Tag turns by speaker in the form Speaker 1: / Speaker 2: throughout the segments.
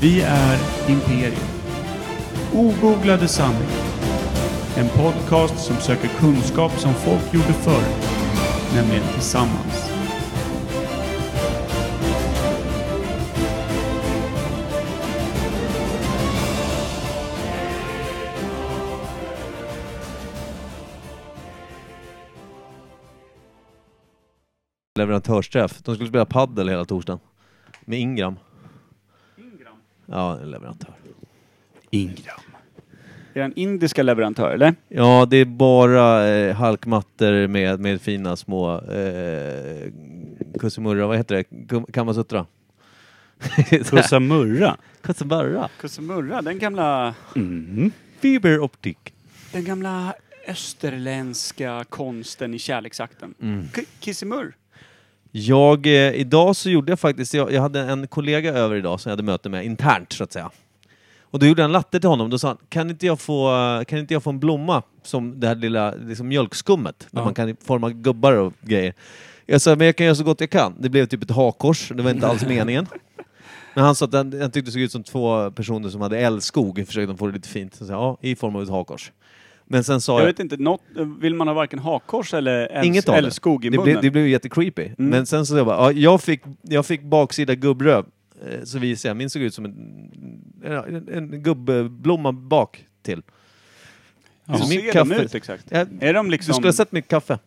Speaker 1: Vi är Imperium. Ogooglade sanningar. En podcast som söker kunskap som folk gjorde förr, nämligen tillsammans.
Speaker 2: leverantörsträff. De skulle spela paddel hela torsdagen. Med Ingram. Ja, en leverantör.
Speaker 1: Ingram. Är det en indiska leverantör eller?
Speaker 2: Ja, det är bara eh, halkmattor med, med fina små eh, kussimurra, vad heter det? Kum- Kamasutra?
Speaker 1: Kusamurra.
Speaker 2: Kussimurra?
Speaker 3: Kusamurra, den gamla,
Speaker 2: Fiberoptik.
Speaker 3: den gamla österländska konsten i kärleksakten.
Speaker 2: Mm.
Speaker 3: K- Kissimur.
Speaker 2: Jag, eh, idag så gjorde jag faktiskt, jag, jag hade en kollega över idag som jag hade möte med internt så att säga. Och då gjorde jag en latte till honom, då sa han, kan inte jag få, eh, kan inte jag få en blomma som det här lilla liksom mjölkskummet, där man kan forma gubbar och grejer. Jag sa, men jag kan göra så gott jag kan. Det blev typ ett hakkors, det var inte alls meningen. Men han sa att han, han tyckte det såg ut som två personer som hade älskog, försökte få det lite fint. Så jag sa, ja, i form av ett hakkors. Men sen sa
Speaker 3: Jag
Speaker 2: jag...
Speaker 3: vet inte, något, vill man ha varken hakkors eller älsk,
Speaker 2: Inget av
Speaker 3: älskog
Speaker 2: det.
Speaker 3: i
Speaker 2: det
Speaker 3: munnen? Mm.
Speaker 2: blev, det blev ju jättecreepy. Men sen så jag bara, ja, jag fick, jag fick baksida gubbröv. Eh, Så visade jag, min såg ut som en, en, en gubbblomma bak till.
Speaker 3: Hur
Speaker 2: Så
Speaker 3: ser
Speaker 2: mitt
Speaker 3: de
Speaker 2: kaffe-
Speaker 3: ut exakt?
Speaker 2: Ja,
Speaker 3: Är de
Speaker 2: Du
Speaker 3: liksom,
Speaker 2: skulle ha sett mitt kaffe.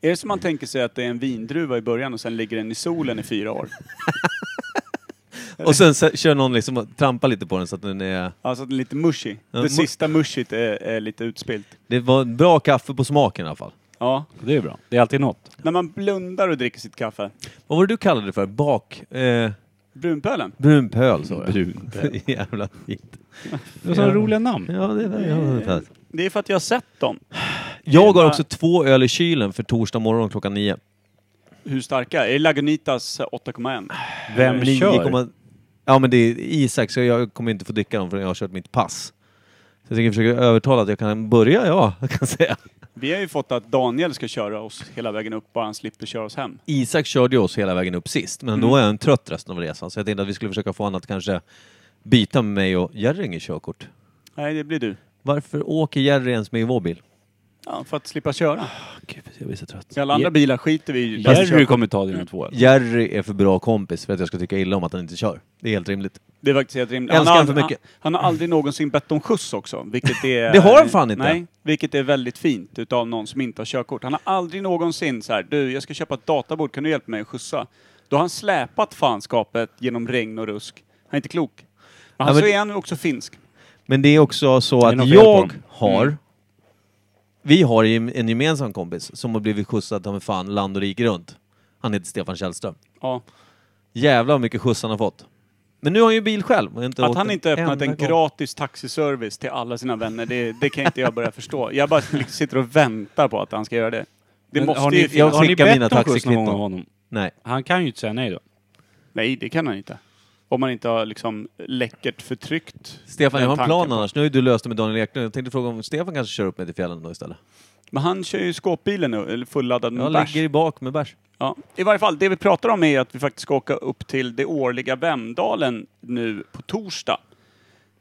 Speaker 3: är det som man tänker sig att det är en vindruva i början och sen ligger den i solen i fyra år?
Speaker 2: Och sen så, kör någon liksom och trampar lite på den så att den är...
Speaker 3: Alltså att den är lite mushy.
Speaker 2: Ja, mu-
Speaker 3: det sista mushigt är, är lite utspilt.
Speaker 2: Det var en bra kaffe på smaken i alla fall.
Speaker 3: Ja.
Speaker 4: Det är bra. Det är alltid något.
Speaker 3: När man blundar och dricker sitt kaffe.
Speaker 2: Vad var det du kallade det för? Bak... Eh,
Speaker 3: Brunpölen.
Speaker 2: brunpöl sa jag.
Speaker 4: Brun.
Speaker 2: Jävla fint.
Speaker 4: Det var sådana roliga namn.
Speaker 2: Ja, det var ja,
Speaker 3: Det är för att jag har sett dem.
Speaker 2: Jag har också två öl i kylen för torsdag morgon klockan nio.
Speaker 3: Hur starka? Är det Lagunitas 8,1?
Speaker 4: Vem kör?
Speaker 2: 9,0 Ja men det är Isak, så jag kommer inte få dricka dem förrän jag har kört mitt pass. Så jag tänker försöka övertala att jag kan börja, ja, jag kan säga.
Speaker 3: Vi har ju fått att Daniel ska köra oss hela vägen upp bara han slipper köra oss hem.
Speaker 2: Isak körde ju oss hela vägen upp sist, men då var jag en trött resten av resan. Så jag tänkte att vi skulle försöka få honom att kanske byta med mig och Jerry har inget körkort.
Speaker 3: Nej, det blir du.
Speaker 2: Varför åker Jerry ens med i vår bil?
Speaker 3: Ja, för att slippa köra.
Speaker 2: Ah, Gud, jag blir så trött.
Speaker 3: I alla andra bilar skiter vi Alltså, ju
Speaker 4: Jerry kommer ta dina två.
Speaker 2: Jerry är för bra kompis för att jag ska tycka illa om att han inte kör. Det är helt rimligt.
Speaker 3: Det är faktiskt helt rimligt.
Speaker 2: Älskar
Speaker 3: har
Speaker 2: han för
Speaker 3: aldrig-
Speaker 2: mycket?
Speaker 3: Han, han har aldrig någonsin bett om skjuts också, vilket är...
Speaker 2: Det har han fan inte.
Speaker 3: Nej, vilket är väldigt fint utav någon som inte har körkort. Han har aldrig någonsin så här, du, jag ska köpa ett databord, kan du hjälpa mig att skjutsa? Då har han släpat fanskapet genom regn och rusk. Han är inte klok. Men han
Speaker 2: men-
Speaker 3: så är han också finsk.
Speaker 2: Men det är också så
Speaker 4: är
Speaker 2: att
Speaker 4: något fel på
Speaker 2: jag
Speaker 4: dem. Mm.
Speaker 2: har... Vi har ju en gemensam kompis som har blivit skjutsad ta mig fan land och rike runt. Han heter Stefan Källström.
Speaker 3: Ja.
Speaker 2: Jävlar vad mycket skjuts han har fått. Men nu har han ju bil själv. och
Speaker 3: Att
Speaker 2: åkt
Speaker 3: han
Speaker 2: en
Speaker 3: inte öppnat
Speaker 2: enda
Speaker 3: en
Speaker 2: gång.
Speaker 3: gratis taxiservice till alla sina vänner, det, det kan inte jag börja förstå. Jag bara liksom sitter och väntar på att han ska göra det. Det
Speaker 4: Men
Speaker 3: måste
Speaker 4: har
Speaker 3: ju
Speaker 4: ni,
Speaker 3: finnas...
Speaker 2: jag-
Speaker 4: har ni
Speaker 2: skickar
Speaker 4: bett
Speaker 2: mina
Speaker 4: om skjuts någon gång
Speaker 2: taxikvitton.
Speaker 4: av honom?
Speaker 2: Nej.
Speaker 4: Han kan ju inte säga nej då.
Speaker 3: Nej, det kan han inte. Om man inte har liksom läckert förtryckt
Speaker 2: Stefan, jag
Speaker 3: den
Speaker 2: har en plan
Speaker 3: tanken.
Speaker 2: annars. Nu har ju du löst det med Daniel Eklund. Jag tänkte fråga om Stefan kanske kör upp mig till fjällen då istället.
Speaker 4: Mm,
Speaker 3: Men han kör ju skåpbilen nu, eller fulladdad med
Speaker 2: Jag
Speaker 3: bärs.
Speaker 2: ligger i bak med bärs.
Speaker 3: Ja. I varje fall, det vi pratar om är att vi faktiskt ska åka upp till det årliga Vemdalen nu på torsdag.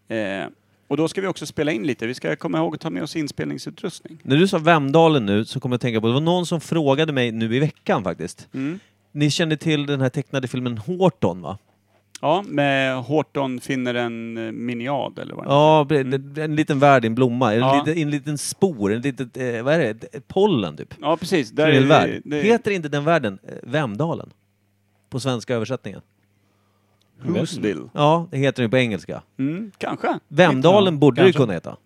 Speaker 3: Eh, och då ska vi också spela in lite. Vi ska komma ihåg att ta med oss inspelningsutrustning.
Speaker 2: När du sa Vemdalen nu så kom jag att tänka på, det var någon som frågade mig nu i veckan faktiskt.
Speaker 4: Mm.
Speaker 2: Ni kände till den här tecknade filmen Horton va?
Speaker 3: Ja, med Horton finner en eh, miniad eller vad det
Speaker 2: Ja, pre- det- en liten värld i en blomma. En,
Speaker 3: Ja.
Speaker 2: liten, en liten spor, en litet, eh, vad är det? Ett- ett Pollen typ.
Speaker 3: Ja, precis. Där
Speaker 2: Där
Speaker 3: är
Speaker 2: värld.
Speaker 3: det,
Speaker 2: Heter inte den världen eh, Vemdalen? På svenska översättningen.
Speaker 3: Husville.
Speaker 2: Ja, det heter den på engelska.
Speaker 3: Mm, kanske.
Speaker 2: Vemdalen borde det
Speaker 4: Kanske.
Speaker 2: kunna heta.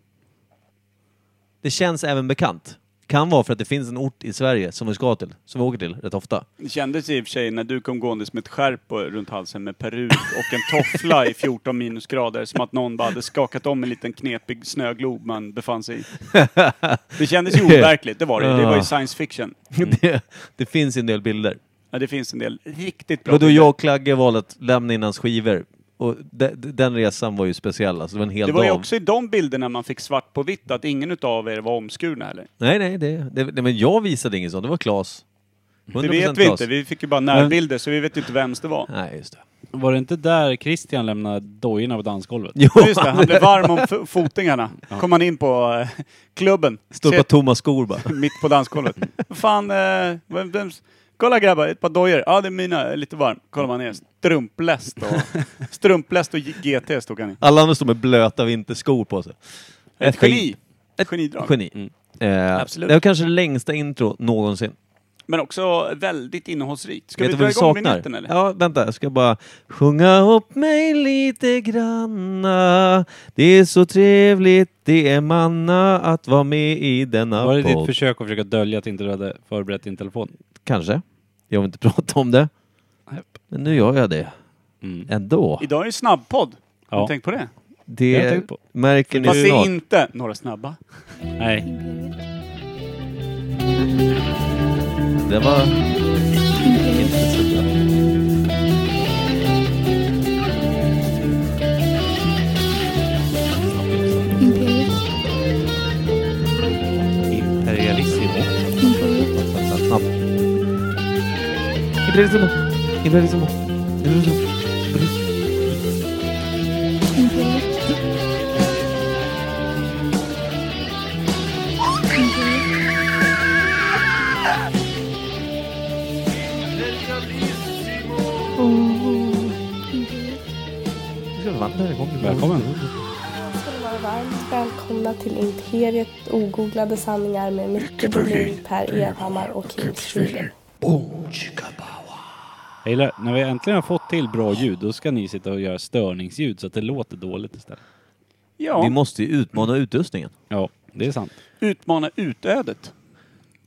Speaker 2: Det känns även bekant. Kan vara för att det finns en ort i Sverige som vi ska till, som vi åker till rätt ofta.
Speaker 3: Det kändes i och för sig när du kom gåendes med ett skärp på- runt halsen med peruk och en toffla i 14 minusgrader som att någon bara hade skakat om en liten knepig snöglob man befann sig i. Det kändes ju overkligt, det var det. Det
Speaker 2: Ah.
Speaker 3: var ju science fiction.
Speaker 2: det, det finns ju en del bilder.
Speaker 3: Ja, det finns en del riktigt bra
Speaker 2: Och då
Speaker 3: bilder.
Speaker 2: jag och Klagge valde att lämna in hans skivor. Och de, de, den resan var ju speciell, alltså det var en hel
Speaker 3: Det var ju
Speaker 2: dag.
Speaker 3: också i de bilderna man fick svart på vitt att ingen utav er var omskurna heller.
Speaker 2: Nej, nej, det, det, nej, men jag visade inget sånt. Det var Klas.
Speaker 3: Det
Speaker 2: 100%
Speaker 3: vet vi
Speaker 2: Klas.
Speaker 3: inte, vi fick ju bara närbilder så vi vet ju inte vems det var.
Speaker 2: Nej, just det.
Speaker 4: Var det inte där Christian lämnade dojorna på dansgolvet?
Speaker 2: Jo,
Speaker 3: Just det, han blev varm om f- fotingarna. Kom han in på eh, klubben.
Speaker 2: stod
Speaker 3: Ser-
Speaker 2: på tomma skor bara.
Speaker 3: mitt på dansgolvet. Fan, eh, vem, vem, kolla grabbar, ett par dojor. Ja, det är mina, jag är lite varm. Kollar man ner, strumpläst och, strumpläst och GT stod han i.
Speaker 2: Alla andra stod med blöta vinterskor på sig.
Speaker 3: Ett geni. Ett genidrag.
Speaker 2: Geni. Eh,
Speaker 3: Absolut.
Speaker 2: Det var kanske det längsta intro någonsin.
Speaker 3: Men också väldigt innehållsrikt. Ska
Speaker 2: Vet
Speaker 3: vi
Speaker 2: du vad
Speaker 3: dra
Speaker 2: vi
Speaker 3: igång
Speaker 2: saknar?
Speaker 3: vinjetten eller?
Speaker 2: Ja, vänta. Jag ska bara sjunga upp mig lite granna. Det är så trevligt, det är manna att vara med i denna
Speaker 4: Var det ditt
Speaker 2: podd.
Speaker 4: försök att försöka dölja att inte du hade förberett din telefon?
Speaker 2: Kanske. Jag vill inte prata om det.
Speaker 4: Nej.
Speaker 2: Men nu gör jag det.
Speaker 4: Mm.
Speaker 2: Ändå.
Speaker 3: Idag är det snabbpodd. Har
Speaker 4: Ja.
Speaker 3: du tänkt på det?
Speaker 4: Det har jag
Speaker 2: Det
Speaker 4: tänkt på.
Speaker 2: märker ni
Speaker 3: Fast det är
Speaker 2: snart.
Speaker 3: inte några snabba.
Speaker 4: Nej.
Speaker 2: Det var... inte så bra.
Speaker 5: Imperiet,
Speaker 2: Imperialissimo.
Speaker 5: Imperiet,
Speaker 2: Snabbt. Imperialissimo. Imperialissimo. Imperialissimo.
Speaker 5: Imperiet.
Speaker 4: Välkommen.
Speaker 6: ska ni vara varmt välkomna till Imperiet ogooglade sanningar med Micke Bolin, Per Evhammar och Kim Schwiger.
Speaker 4: Jag gillar, när vi äntligen har fått till bra ljud, då ska ni sitta och göra störningsljud så att det låter dåligt istället.
Speaker 2: Vi
Speaker 3: Ja,
Speaker 2: måste ju utmana utrustningen.
Speaker 4: Ja, det är sant.
Speaker 3: utmana utödet.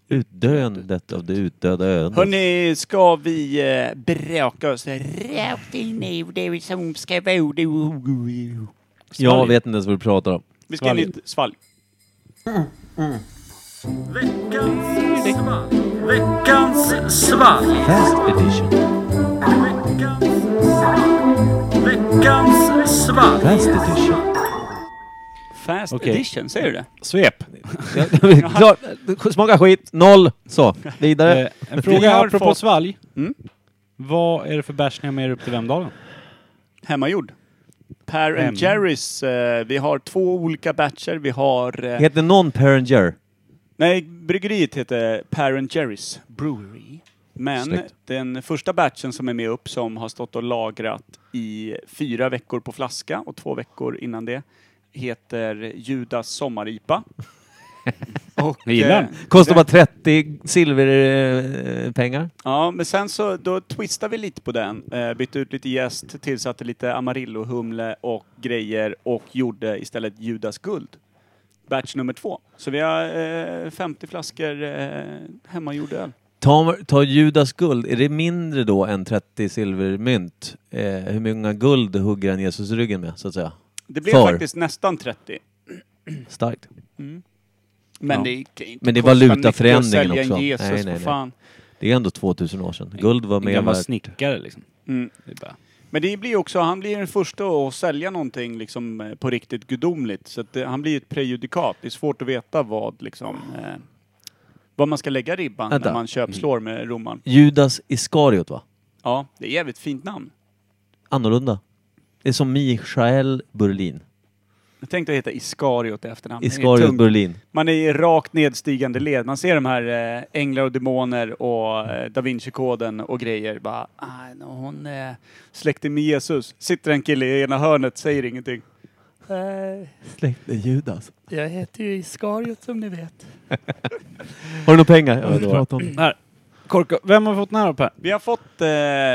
Speaker 2: Utdöendet av det utdöda ödet.
Speaker 3: Hörni, ska vi eh, bråka oss rakt in i det som ska vara...
Speaker 2: Jag vet inte ens vad du pratar om.
Speaker 3: Vi ska in i ett svalg.
Speaker 2: Fast edition. Veckans svalg. Fast edition.
Speaker 3: Fast
Speaker 4: Okej.
Speaker 3: edition, säger du det?
Speaker 4: Svep!
Speaker 2: Ja, Klart. Smaka skit, noll. Så, vidare.
Speaker 4: Eh, en
Speaker 3: Vi
Speaker 4: fråga
Speaker 3: har
Speaker 4: apropå
Speaker 3: fått-
Speaker 4: svalg.
Speaker 3: Mm.
Speaker 4: Vad är det för bärs ni har med er upp till Vemdalen?
Speaker 3: Hemmagjord. Per
Speaker 4: Hem.
Speaker 3: and Jerrys. Eh, vi har två olika batcher. Vi har... Eh,
Speaker 2: Heter någon Peringer?
Speaker 3: nej, bryggeriet heter Per and Jerrys Brewery. Men
Speaker 2: Snyggt.
Speaker 3: den första batchen som är med upp som har stått och lagrat i fyra veckor på flaska och två veckor innan det heter Judas sommaripa. och, eh,
Speaker 4: Jag gillar den.
Speaker 2: Kostar bara eh, 30 silverpengar.
Speaker 3: Ja, men sen så då twistade vi lite på den. Eh, bytte ut lite jäst, tillsatte lite amarillo-humle och grejer och gjorde istället Judas guld. Batch nummer två. Så vi har eh, 50 flaskor eh, hemmagjord öl.
Speaker 2: Ta, ta Judas guld, är det mindre då än 30 silvermynt? Eh, hur många guld hugger han Jesus i ryggen med, så att säga?
Speaker 3: Det blev
Speaker 2: För.
Speaker 3: faktiskt nästan 30.
Speaker 2: Starkt.
Speaker 3: Men
Speaker 4: Ja.
Speaker 3: det kan ju inte
Speaker 2: Men det är
Speaker 3: kosta
Speaker 2: valutaförändringen
Speaker 3: mycket att sälja en
Speaker 2: också.
Speaker 3: Jesus,
Speaker 2: Nej, nej,
Speaker 3: för
Speaker 2: nej.
Speaker 3: fan.
Speaker 2: Det är ändå 2000 år sedan. Guld var
Speaker 4: En
Speaker 2: mer
Speaker 4: gammal
Speaker 2: värt.
Speaker 4: snickare liksom.
Speaker 3: Mm.
Speaker 4: Det är bara...
Speaker 3: Men det blir ju också, han blir den första att sälja någonting liksom eh, på riktigt gudomligt. Så att det, han blir ett prejudikat. Det är svårt att veta vad liksom... Eh, vad man ska lägga ribban
Speaker 2: Vänta.
Speaker 3: när man köpslår med romaren.
Speaker 2: Judas Iskariot, va?
Speaker 3: Ja, det är jävligt fint namn.
Speaker 2: Annorlunda. Det är som Michael Berlin.
Speaker 3: Jag tänkte heta Iskariot i efternamn. Det är
Speaker 2: Iskariot
Speaker 3: tungt.
Speaker 2: Berlin.
Speaker 3: Man är i rakt nedstigande led. Man ser de här eh, Änglar och Demoner och eh, Da Vinci-koden och grejer. Bara, "Ah, no, hon eh, släkte med Jesus. Sitter en kille i ena hörnet, säger ingenting.
Speaker 2: Släkte Judas.
Speaker 3: Jag heter ju Iskariot som ni vet.
Speaker 2: Har du några pengar? Jag vill prata om.
Speaker 4: Här. Korka. Vem har fått den här då Per?
Speaker 3: Vi har fått eh,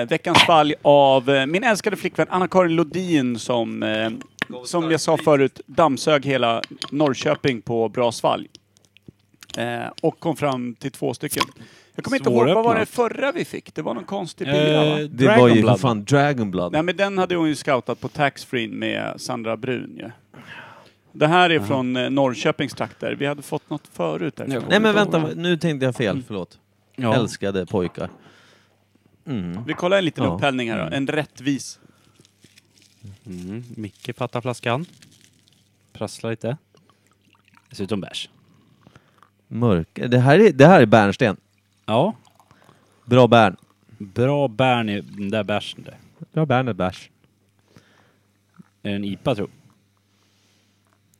Speaker 3: veckans fall av eh, min älskade flickvän Anna-Karin Lodin som, eh, som jag sa förut, dammsög hela Norrköping på bra svalg. Eh, och kom fram till två stycken. Jag kommer inte ihåg, vad var det
Speaker 4: Svåröppnat. förra
Speaker 3: förra vi fick? Det var någon konstig bil,
Speaker 4: Eh,
Speaker 3: va?
Speaker 2: Det var ju för
Speaker 4: Dragonblood.
Speaker 2: fan Dragon Blood.
Speaker 3: Nej, men den hade hon ju scoutat på taxfree med Sandra Brun ju. Det här är från eh, Norrköpings trakter. Vi hade fått något förut där.
Speaker 4: Nej,
Speaker 2: Nej men vänta, nu tänkte jag
Speaker 3: Mm.
Speaker 2: fel. Förlåt.
Speaker 4: Ja.
Speaker 2: Älskade pojkar. Mm.
Speaker 3: Vi kollar en liten
Speaker 2: Ja.
Speaker 3: upphällning här då. En rättvis.
Speaker 4: Mm. Micke fattar flaskan. Prasslar lite. Dessutom bärs.
Speaker 2: Mörk. Det här är, det här är bärnsten.
Speaker 4: Ja.
Speaker 2: Bra bärn.
Speaker 4: Bra bärn i den där bärsen där.
Speaker 2: Du har Bernhard bärs.
Speaker 4: Är det en IPA tro?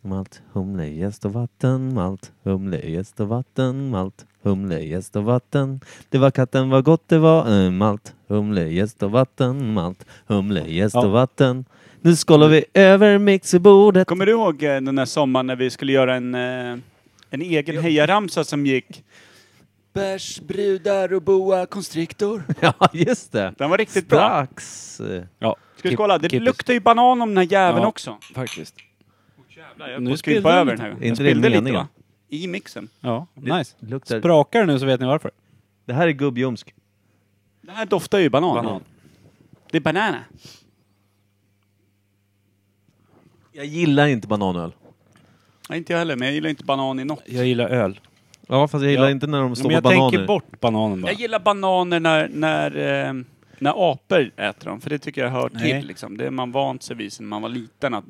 Speaker 2: Malt, humle, jäst och vatten, malt, humle, jäst och vatten, malt, humle, jäst och vatten. Det var katten, vad gott det var, eh, malt, humle, jäst och vatten, malt, humle, jäst
Speaker 4: Ja.
Speaker 2: och vatten. Nu skålar vi över mixerbordet.
Speaker 3: Kommer du ihåg eh, den där sommaren när vi skulle göra en, eh, en egen hejaramsa som gick? Bärs, brudar och boa constrictor.
Speaker 2: Ja, just det.
Speaker 3: Den var riktigt bra.
Speaker 2: Strax. eh,
Speaker 4: Ja,
Speaker 3: Ska vi
Speaker 4: Keep-
Speaker 3: kolla? Det
Speaker 4: keep it.
Speaker 3: luktar ju banan om den här jäveln
Speaker 4: Ja.
Speaker 3: också.
Speaker 4: faktiskt.
Speaker 3: Jävlar, jag
Speaker 4: Nu
Speaker 3: nu
Speaker 4: spillde
Speaker 3: skrypa
Speaker 4: den
Speaker 3: över den
Speaker 4: lite.
Speaker 3: här gången.
Speaker 2: Är
Speaker 3: Jag
Speaker 2: inte det
Speaker 3: spillde lite
Speaker 2: meningen?
Speaker 3: va? I mixen.
Speaker 4: Ja, nice.
Speaker 2: luktar-
Speaker 4: Sprakar det nu så vet ni varför.
Speaker 2: Det här är gubbjomsk.
Speaker 3: Det här doftar ju banan.
Speaker 4: Banan.
Speaker 3: Det är banana.
Speaker 2: Jag gillar inte bananöl.
Speaker 3: Nej, inte jag heller, men jag gillar inte banan i något.
Speaker 4: Jag gillar öl.
Speaker 2: Ja, fast jag gillar
Speaker 4: Ja.
Speaker 2: inte när de står
Speaker 4: Men jag
Speaker 2: på bananer.
Speaker 4: tänker bort bananen bara.
Speaker 3: Jag gillar bananer när, när, eh, när apor äter dem, för det tycker jag hör
Speaker 4: Nej.
Speaker 3: till. Liksom. Det är man vant sig vid sen man var liten, att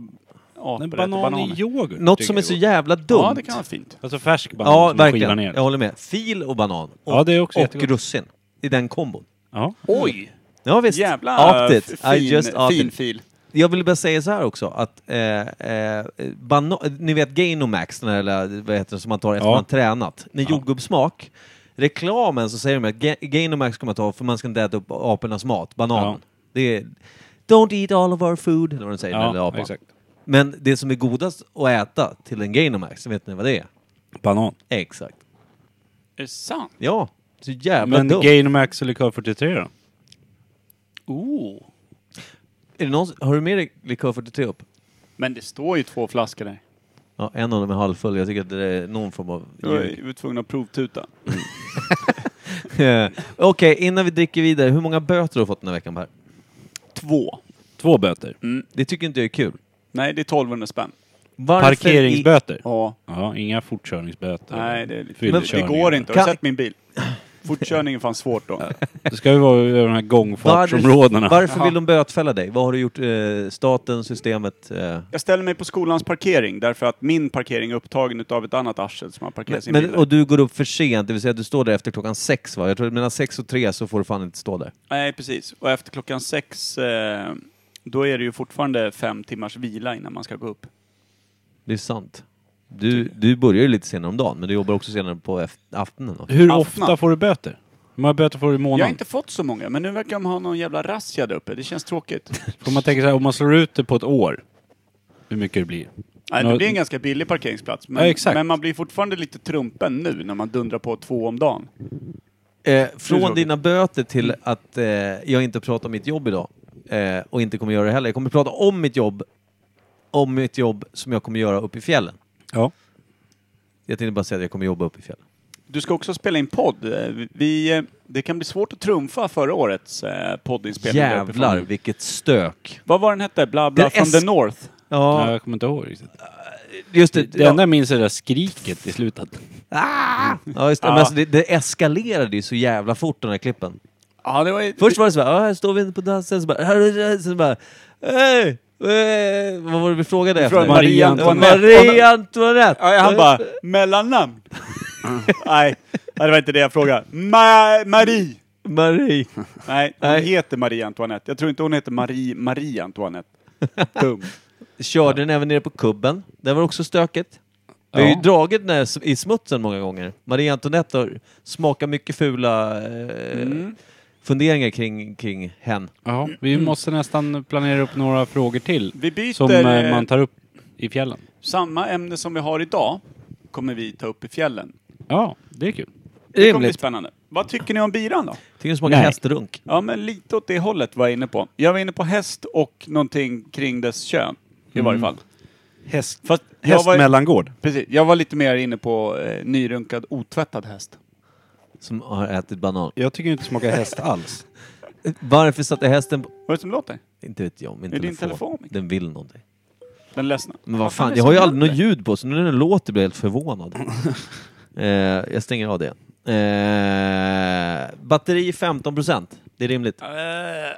Speaker 3: apor
Speaker 4: Men
Speaker 3: äter
Speaker 4: banan
Speaker 3: bananer.
Speaker 4: i yoghurt.
Speaker 2: Något
Speaker 4: tycker
Speaker 2: som är
Speaker 4: jag
Speaker 2: så
Speaker 4: gott.
Speaker 2: jävla dumt.
Speaker 3: Ja, det kan vara fint.
Speaker 4: Alltså färsk banan
Speaker 2: Ja,
Speaker 4: som man skivar
Speaker 2: verkligen.
Speaker 4: ner.
Speaker 2: Jag håller med. Fil och banan. Och,
Speaker 4: Ja, det är också
Speaker 2: och
Speaker 4: jättegott.
Speaker 2: russin. I den kombon.
Speaker 4: Ja.
Speaker 3: Oj!
Speaker 2: Ja, visst.
Speaker 3: Jävla
Speaker 2: Opt it.
Speaker 3: f-
Speaker 2: I
Speaker 3: fin,
Speaker 2: just opt
Speaker 3: fin
Speaker 2: it.
Speaker 3: fil.
Speaker 2: Jag vill bara säga så här också att eh, eh, bana- ni vet Gainomax, den här, lilla- vad heter det, som man tar efter
Speaker 4: Ja.
Speaker 2: man tränat. Med jordgubbssmak. Reklamen så säger de att Ga- Gainomax ska man ta för man ska inte äta upp apornas mat, bananen.
Speaker 4: Ja.
Speaker 2: Det är Don't eat all of our food, eller vad de säger, den lilla
Speaker 4: ja,
Speaker 2: apan.
Speaker 4: exakt.
Speaker 2: Men det som är godast att äta till en Gainomax, vet ni vad det är?
Speaker 4: Banan.
Speaker 2: Exakt.
Speaker 3: Är det sant?
Speaker 2: Ja, så jävla
Speaker 4: Men
Speaker 2: dumt.
Speaker 4: Gainomax och Likör 43 då?
Speaker 3: Oh.
Speaker 2: Är det någon, har du med dig likör 43 upp?
Speaker 3: Men det står ju två flaskor där.
Speaker 2: Ja, en av dem är halvfull. Jag tycker att det är någon form av
Speaker 3: Jag var
Speaker 2: ljug.
Speaker 3: ju tvungen att provtuta.
Speaker 2: Eh, Okej, innan vi dricker vidare. Hur många böter har du fått den här veckan Per?
Speaker 3: Två.
Speaker 4: Två böter.
Speaker 2: Det tycker inte jag är kul.
Speaker 3: Nej, det är 1200 spänn.
Speaker 2: Varför i-
Speaker 4: Parkeringsböter.
Speaker 3: Ja.
Speaker 4: Ja, inga fortkörningsböter.
Speaker 3: Nej, det, är lite-
Speaker 4: Fyllekörningar.
Speaker 3: det går inte. Har
Speaker 2: Kan-
Speaker 3: du sett min bil? Fortkörning är fan svårt då.
Speaker 4: Det ska ju vara över de här gångfartsområdena.
Speaker 2: Varför, varför vill de bötfälla dig? Vad har du gjort? Eh, staten, systemet? Eh.
Speaker 3: Jag ställer mig på skolans parkering därför att min parkering är upptagen utav ett annat arsel som har parkerat sin bil
Speaker 2: Men,
Speaker 3: där.
Speaker 2: och du går upp för sent, det vill säga du står där efter klockan sex va? Jag tror att mellan sex och tre så får du fan inte stå där.
Speaker 3: Nej, precis. Och efter klockan sex, eh, då är det ju fortfarande fem timmars vila innan man ska gå upp.
Speaker 2: Det är sant. Du, du börjar ju lite senare om dagen, men du jobbar också senare på eft- aftonen. Då.
Speaker 4: Hur
Speaker 3: Afna.
Speaker 4: ofta får du böter? Hur många böter får du i månaden?
Speaker 3: Jag har inte fått så många, men nu verkar de ha någon jävla razzia där uppe. Det känns tråkigt.
Speaker 4: Får man tänka så här, om man slår ut det på ett år, hur mycket det blir?
Speaker 3: Nej, det
Speaker 4: Nå-
Speaker 3: blir en ganska billig parkeringsplats. Men,
Speaker 4: Ja, exakt.
Speaker 3: men man blir fortfarande lite trumpen nu när man dundrar på två om dagen.
Speaker 2: Eh,
Speaker 3: Hur
Speaker 2: från
Speaker 3: så?
Speaker 2: dina böter till att eh, jag inte pratar om mitt jobb idag. Eh, och inte kommer göra det heller. Jag kommer prata om mitt jobb. Om mitt jobb som jag kommer göra uppe i fjällen.
Speaker 4: Ja.
Speaker 2: Jag tänkte bara säga att jag kommer jobba uppe i fjällen.
Speaker 3: Du ska också spela in podd. Eh, Vi, eh, det kan bli svårt att trumfa förra årets eh, poddinspelning. där uppifrån.
Speaker 2: Jävlar vilket stök!
Speaker 3: Vad var den hette? Bla bla
Speaker 2: Den
Speaker 3: from
Speaker 2: S-
Speaker 3: the North.
Speaker 2: Ja,
Speaker 4: Jag kommer inte ihåg riktigt.
Speaker 2: just det.
Speaker 4: Det enda jag minns är det där skriket i slutet.
Speaker 2: Ah! Ja, just det. Men
Speaker 3: Ja.
Speaker 2: alltså, det, det eskalerade ju så jävla fort de här klippen.
Speaker 3: Ja, det var ju...
Speaker 2: Först var det så här, "Ah, här står vi inne på dansen, så bara, här är det", så bara, "Hej, eh, vad var det vi frågade
Speaker 3: Från
Speaker 2: efter?
Speaker 4: Marie
Speaker 2: Det var
Speaker 3: Antoinette.
Speaker 2: Marie Antoinette!
Speaker 3: Ja, han bara,
Speaker 2: eh.
Speaker 3: mellannamn? Nej, det var inte det jag frågade. Ma- Marie!
Speaker 2: Marie.
Speaker 3: Nej, hon
Speaker 2: Nej.
Speaker 3: heter Marie Antoinette. Jag tror inte hon heter Marie, Marie Antoinette. Dum.
Speaker 2: Körde den även nere på kubben. Det var också stökigt. Vi har ju
Speaker 4: Ja.
Speaker 2: dragit den här i smutsen många gånger. Marie Antoinette har smakat mycket fula eh, funderingar kring, kring hen.
Speaker 4: Ja, vi måste nästan planera upp några frågor till.
Speaker 3: Mm. Vi byter
Speaker 4: Som eh,
Speaker 3: eh,
Speaker 4: man tar upp i fjällen.
Speaker 3: samma ämne som vi har idag, kommer vi ta upp i fjällen.
Speaker 4: Ja, det är kul.
Speaker 3: Det kommer bli
Speaker 2: Rimligt.
Speaker 3: spännande. Vad tycker ni om biran då?
Speaker 2: Tycker den smakar
Speaker 4: Nej.
Speaker 2: hästrunk.
Speaker 3: Ja, men lite åt det hållet var jag inne på. Jag var inne på häst och någonting kring dess kön. I varje fall.
Speaker 4: Häst,
Speaker 3: Fast jag var,
Speaker 4: mellangård.
Speaker 3: precis, jag var lite mer inne på eh, nyrunkad otvättad häst.
Speaker 2: Som har ätit banan. Eh,
Speaker 4: Jag tycker inte det smakar häst alls.
Speaker 2: Varför satte hästen på...
Speaker 3: Vad är det som låter?
Speaker 2: Inte vet jag, min
Speaker 3: Är din telefon, Micke?
Speaker 2: Den vill någonting.
Speaker 3: Den ledsna.
Speaker 2: Men vad
Speaker 3: är
Speaker 2: fan, jag
Speaker 3: det som
Speaker 2: har ju aldrig
Speaker 3: händer?
Speaker 2: något ljud på så nu när den låter blir jag helt förvånad. eh, jag stänger av det. Eh, batteri 15%, det är rimligt.
Speaker 3: Eh,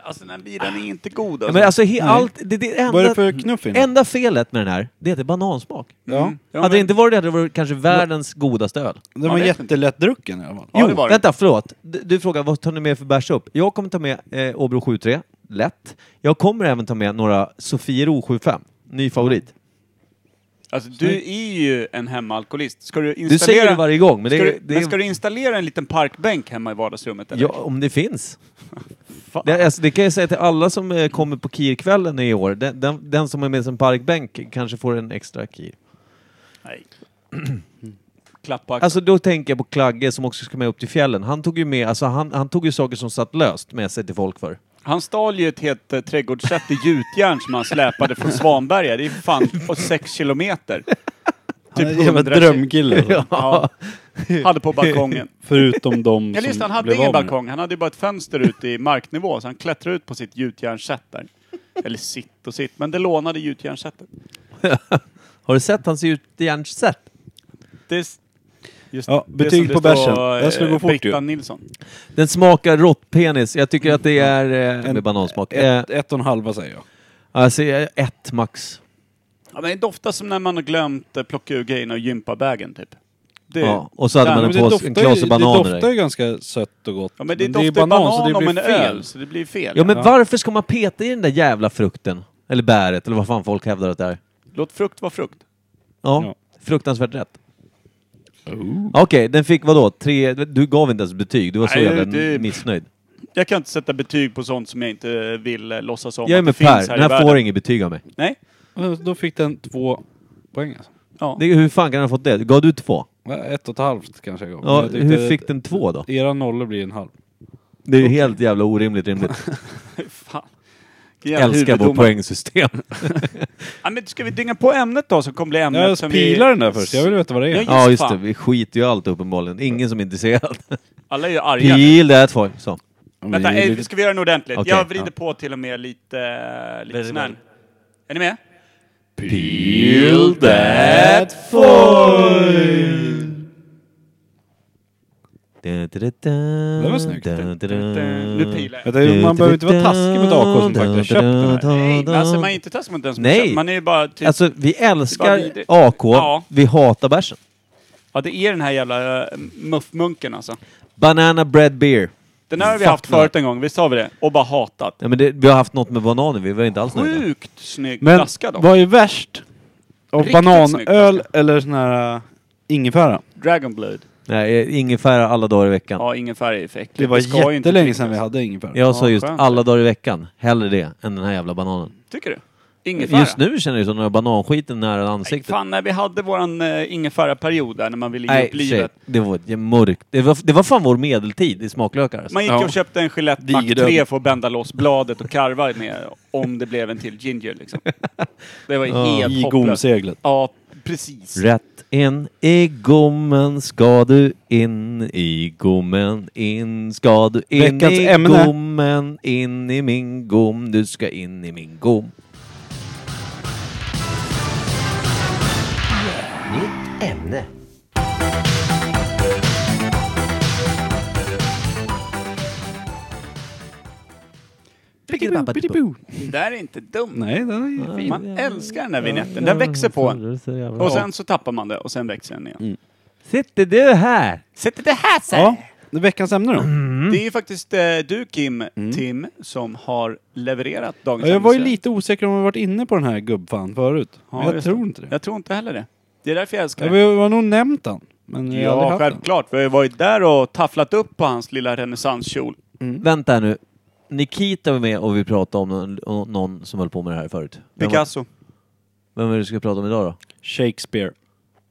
Speaker 3: alltså den här bilen är inte god
Speaker 2: Ja,
Speaker 3: alltså.
Speaker 2: men alltså, he, allt, det, det enda,
Speaker 4: Vad är det
Speaker 3: Mm.
Speaker 4: för knuff i den?
Speaker 2: enda felet med den här, det heter banansmak.
Speaker 4: Ja,
Speaker 3: Ja,
Speaker 2: hade
Speaker 3: men-
Speaker 2: det inte varit det hade det varit kanske världens godaste öl.
Speaker 4: den
Speaker 3: Man
Speaker 4: var
Speaker 3: vet inte.
Speaker 4: jättelättdrucken i alla fall.
Speaker 3: Ja, det var det.
Speaker 2: vänta, förlåt. Du, du frågar vad tar ni med för bärs upp? Jag kommer ta med eh, Åbro 73. lätt. Jag kommer även ta med några Sofiero 75, ny favorit.
Speaker 3: Alltså du är ju en hemaalkoholist. Ska du installera...
Speaker 2: Du säger det varje gång, men det,
Speaker 3: ska
Speaker 2: är-
Speaker 3: du,
Speaker 2: det,
Speaker 3: men ska
Speaker 2: är-
Speaker 3: du installera en liten parkbänk hemma i vardagsrummet eller?
Speaker 2: ja, om det finns. Det, alltså, det kan jag säga till alla som eh, kommer på KIR-kvällen i år. Den, den, den som är med som parkbänk kanske får en extra KIR.
Speaker 3: Nej. Klapp på axeln.
Speaker 2: Alltså då tänker jag på Klagge som också ska med upp till fjällen. Han tog ju med, alltså han, han tog ju saker som satt löst med sig till folk för.
Speaker 3: Han stal ju ett helt eh, trädgårdssätt i gjutjärn som han släpade från Svanberga. Det är fan på sex kilometer. Typ
Speaker 4: Han är en jävla
Speaker 3: 100
Speaker 4: drömkille. alltså.
Speaker 3: Ja. Hade på balkongen.
Speaker 4: Förutom de
Speaker 3: Ja,
Speaker 4: som
Speaker 3: just det, han hade
Speaker 4: blev
Speaker 3: ingen
Speaker 4: av med
Speaker 3: balkong. Han hade ju bara ett fönster ut i marknivå, så han klättrade ut på sitt gjutjärnssätt där. Eller sitt och sitt, men det lånade gjutjärnssättet.
Speaker 2: Har du sett hans gjutjärnssätt?
Speaker 3: Det, s- just
Speaker 4: Ja,
Speaker 3: det
Speaker 4: betyg
Speaker 3: som det
Speaker 4: på
Speaker 3: står,
Speaker 4: bärsen. Den skulle gå
Speaker 3: eh,
Speaker 4: fort ju.
Speaker 3: Britta Nilsson.
Speaker 2: Den smakar råttpenis. Jag tycker att det är... Eh, med banansmak. Eh,
Speaker 4: Ett, ett och en halva säger jag.
Speaker 2: alltså eh, ett max.
Speaker 3: Ja, men det doftar som när man har glömt eh, plocka ur grejerna och gympabagen typ. Det,
Speaker 2: Ja, och så hade
Speaker 3: där-
Speaker 2: man
Speaker 3: men
Speaker 2: en
Speaker 3: det
Speaker 2: påse-
Speaker 3: doft-
Speaker 2: en klase
Speaker 4: ju,
Speaker 2: bananer
Speaker 4: det doftar
Speaker 2: där.
Speaker 4: ju ganska sött och gott.
Speaker 3: Ja, men det
Speaker 4: är
Speaker 3: doftar ju banan, om en öl, så det blir fel.
Speaker 2: Ja, men varför ska man peta i den där jävla frukten? Eller bäret, eller vad fan folk hävdar att det är.
Speaker 3: Låt frukt vara frukt.
Speaker 2: Ja,
Speaker 4: Ja.
Speaker 2: fruktansvärt rätt. Okej, den fick vadå? Tre... Du gav inte ens betyg. Du var så
Speaker 3: Oh. Nej,
Speaker 2: jävla
Speaker 3: det-
Speaker 2: missnöjd.
Speaker 3: Jag kan inte sätta betyg på sånt som jag inte vill eh, låtsas om
Speaker 2: Jag är
Speaker 3: att det
Speaker 2: med
Speaker 3: finns
Speaker 2: Per.
Speaker 3: här i
Speaker 2: Den här
Speaker 3: världen.
Speaker 2: får inget betyg av mig.
Speaker 3: Nej.
Speaker 4: Ja, Då fick den två poäng alltså.
Speaker 3: Ja.
Speaker 2: Det, hur fan kan den ha fått det? Gav du två?
Speaker 4: Ja, Ett och ett halvt kanske jag gav. Men
Speaker 2: Ja,
Speaker 4: jag tyckte
Speaker 2: hur
Speaker 4: att
Speaker 2: fick den två då?
Speaker 4: Era nollor blir en halv.
Speaker 2: Det är ju helt jävla orimligt rimligt.
Speaker 3: Fan. Vilken jävla
Speaker 2: Älskar vårt
Speaker 3: huvuddomare.
Speaker 2: poängsystem.
Speaker 3: Ja, men ska vi dynga på ämnet då, som kommer bli ämnet
Speaker 4: Jag
Speaker 3: som
Speaker 4: pilar
Speaker 3: vi...
Speaker 4: den där först, jag vill veta vad det
Speaker 3: Ja,
Speaker 4: är.
Speaker 3: just
Speaker 2: Ja just det,
Speaker 3: fan.
Speaker 2: vi skiter ju i allt uppenbarligen. Ingen som är intresserad.
Speaker 3: Alla är ju arga.
Speaker 2: Peel that for. Så.
Speaker 4: Ja, men
Speaker 3: Vänta,
Speaker 4: det är ju
Speaker 3: ej,
Speaker 4: lite-
Speaker 3: ska vi göra den ordentligt?
Speaker 2: Okej,
Speaker 3: jag vrider
Speaker 2: ja.
Speaker 3: på till och med lite, eh, lite sån här. Är ni med?
Speaker 2: Peel that
Speaker 4: Det
Speaker 2: Det
Speaker 4: var snyggt.
Speaker 2: Mm.
Speaker 3: Nu pilar jag.
Speaker 4: Vänta, man behöver inte vara taskig mot AK som faktiskt har köpt den här.
Speaker 3: Nej, men alltså man är inte taskig mot den som
Speaker 2: Nej.
Speaker 3: köpt. Man är ju bara typ...
Speaker 2: Alltså vi
Speaker 3: Vad
Speaker 2: älskar
Speaker 3: vidrigt.
Speaker 2: AK,
Speaker 3: Ja.
Speaker 2: vi hatar bärsen.
Speaker 3: Ja, det är den här jävla eh, muffmunken alltså.
Speaker 2: Banana bread beer.
Speaker 3: Den här har vi
Speaker 2: Fuck
Speaker 3: haft förut en gång, visst har vi det? Och bara hatat.
Speaker 2: Ja, men det, vi har haft något med bananer, vi var inte alls nöjda.
Speaker 3: Sjukt snygg
Speaker 4: Men
Speaker 3: flaska dock.
Speaker 4: vad är värst? Av
Speaker 3: Riktigt snygg
Speaker 4: bananöl
Speaker 3: flaska.
Speaker 4: eller sån här äh, ingefära?
Speaker 3: Dragonblade.
Speaker 2: Nej, ingefära alla dagar i veckan.
Speaker 3: Ja, ingen färg är för äckligt.
Speaker 4: Det var
Speaker 3: ska ju inte
Speaker 4: jättelänge
Speaker 3: drickas.
Speaker 4: sedan vi hade ingefära.
Speaker 2: Jag sa
Speaker 3: Ja,
Speaker 2: just
Speaker 3: skönt.
Speaker 2: alla dagar i veckan. Hellre det än den här jävla bananen.
Speaker 3: Tycker du? Ingefära?
Speaker 2: Just nu känner jag som den här bananskiten nära
Speaker 3: Nej,
Speaker 2: ansiktet.
Speaker 3: fan, när vi hade våran eh, ingefära-period där när man ville ge
Speaker 2: Nej,
Speaker 3: upp
Speaker 2: shit.
Speaker 3: livet.
Speaker 2: Det var ett mörkt. Det var, det var fan vår medeltid i smaklökar. Alltså.
Speaker 3: Man gick
Speaker 4: Ja.
Speaker 3: och köpte en Gillette Mac
Speaker 4: Digerdöd.
Speaker 3: 3 för att bända loss bladet och karva med om det blev en till ginger liksom. Det var helt
Speaker 4: I
Speaker 3: hopplöst.
Speaker 4: gomseglet.
Speaker 3: Ja, precis.
Speaker 2: Rätt in i gommen ska du in i gommen in ska du in
Speaker 4: Veckans
Speaker 2: i
Speaker 4: ämne.
Speaker 2: gommen in i min gom du ska in i min gom.
Speaker 3: Det där är inte dumt.
Speaker 4: Nej, den är ju fin.
Speaker 3: Man älskar den där vignetten. Den växer på en. Och sen så tappar man det och sen växer den igen.
Speaker 2: Mm. Sitter du här?
Speaker 3: Sätter det här sig!
Speaker 4: Ja, Mm. det är veckans ämne då.
Speaker 3: Det är ju faktiskt eh, du Kim,
Speaker 2: Mm.
Speaker 3: Tim, som har levererat dagens
Speaker 4: Ja, jag var ju
Speaker 3: ämnesrätt.
Speaker 4: lite osäker om jag varit inne på den här gubbfan förut.
Speaker 3: Ja,
Speaker 4: jag
Speaker 3: just
Speaker 4: tror inte det.
Speaker 3: Jag tror inte heller det. Det är därför jag älskar
Speaker 4: Jag,
Speaker 3: det.
Speaker 4: jag har nog nämnt den. Men jag har
Speaker 3: Ja,
Speaker 4: aldrig haft den.
Speaker 3: självklart. Vi har ju varit där och tafflat upp på hans lilla renässanskjol.
Speaker 2: Vänta här nu. Nikita var med och vi pratade om någon, om någon som höll på med det här förut. Vem, var-
Speaker 3: Picasso.
Speaker 2: vem är det du ska prata om idag då?
Speaker 4: Shakespeare.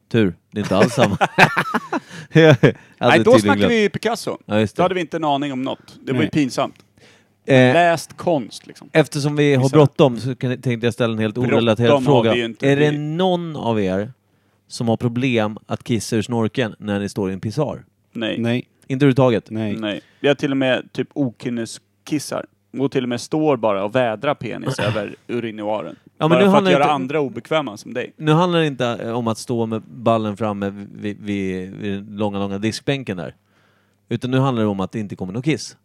Speaker 2: Tur, det är inte alls samma. Jag hade
Speaker 3: Nej, då
Speaker 2: tydligen
Speaker 3: snackade
Speaker 2: glömt.
Speaker 3: vi Picasso.
Speaker 2: Ja, just
Speaker 3: Då hade
Speaker 2: det.
Speaker 3: vi inte en aning om något. Det var ju
Speaker 4: Nej.
Speaker 3: pinsamt.
Speaker 2: Eh,
Speaker 3: Läst konst liksom.
Speaker 2: eftersom vi har bråttom så kan, tänkte jag ställa en helt
Speaker 3: Bråttom
Speaker 2: orelaterad
Speaker 3: har
Speaker 2: fråga.
Speaker 3: vi ju inte.
Speaker 2: Är det
Speaker 3: Vi-
Speaker 2: någon av er som har problem att kissa ur snorken när ni står i en pissoar?
Speaker 3: Nej. Nej.
Speaker 4: Nej,
Speaker 2: Inte överhuvudtaget?
Speaker 4: nej.
Speaker 3: Vi har till och med typ okynneskissar. Och till och med står bara och vädrar penis över urinoaren.
Speaker 2: men nu
Speaker 3: bara för att
Speaker 2: handlar
Speaker 3: göra
Speaker 2: inte-
Speaker 3: andra obekväma som dig.
Speaker 2: Nu handlar det inte eh, om att stå med ballen framme vid, vid, vid den långa, långa diskbänken där. Utan nu handlar det om att det inte kommer någon kiss.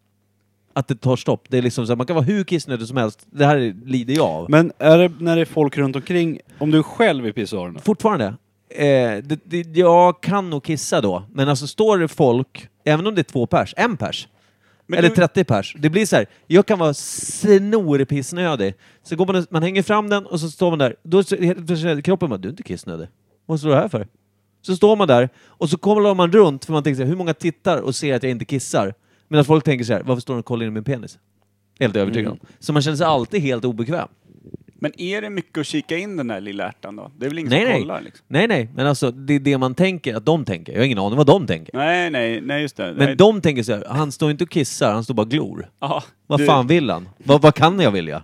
Speaker 2: Att det tar stopp. Det är liksom så här, man kan vara hur kissnödig som helst. Det här lider jag av.
Speaker 4: Men är det när det är folk runt omkring, om du är själv i pissoaren då?
Speaker 2: Fortfarande. Eh, det, det, jag kan nog kissa då, men alltså står det folk, även om det är två pers, en pers,
Speaker 3: Men
Speaker 2: Eller
Speaker 3: du-
Speaker 2: 30 pers. Det blir så här, jag kan vara snorpissnödig. Så går man, och- man hänger fram den och så står man där. Då så- helt plötsligt kroppen bara, du är inte kissnödig. Vad står du här för? Så står man där och så kollar man runt för man tänker så här, hur många tittar och ser att jag inte kissar? Medan folk tänker så här, varför står de och kollar in i min penis? Helt övertygad
Speaker 3: Mm.
Speaker 2: om. Så man känner sig alltid helt obekväm.
Speaker 3: Men är det mycket att kika in den där lilla ärtan då? Det är väl ingen
Speaker 2: Nej,
Speaker 3: som
Speaker 2: nej.
Speaker 3: kollar liksom?
Speaker 2: Nej, nej. Men alltså, det är det man tänker att de tänker. Jag har ingen aning vad de tänker.
Speaker 3: Nej, nej, nej just det.
Speaker 2: Men
Speaker 3: nej.
Speaker 2: de tänker så här, han står inte och kissar, han står bara och glor.
Speaker 3: Ja,
Speaker 2: Vad
Speaker 3: du,
Speaker 2: fan vill han? Vad, vad kan jag vilja?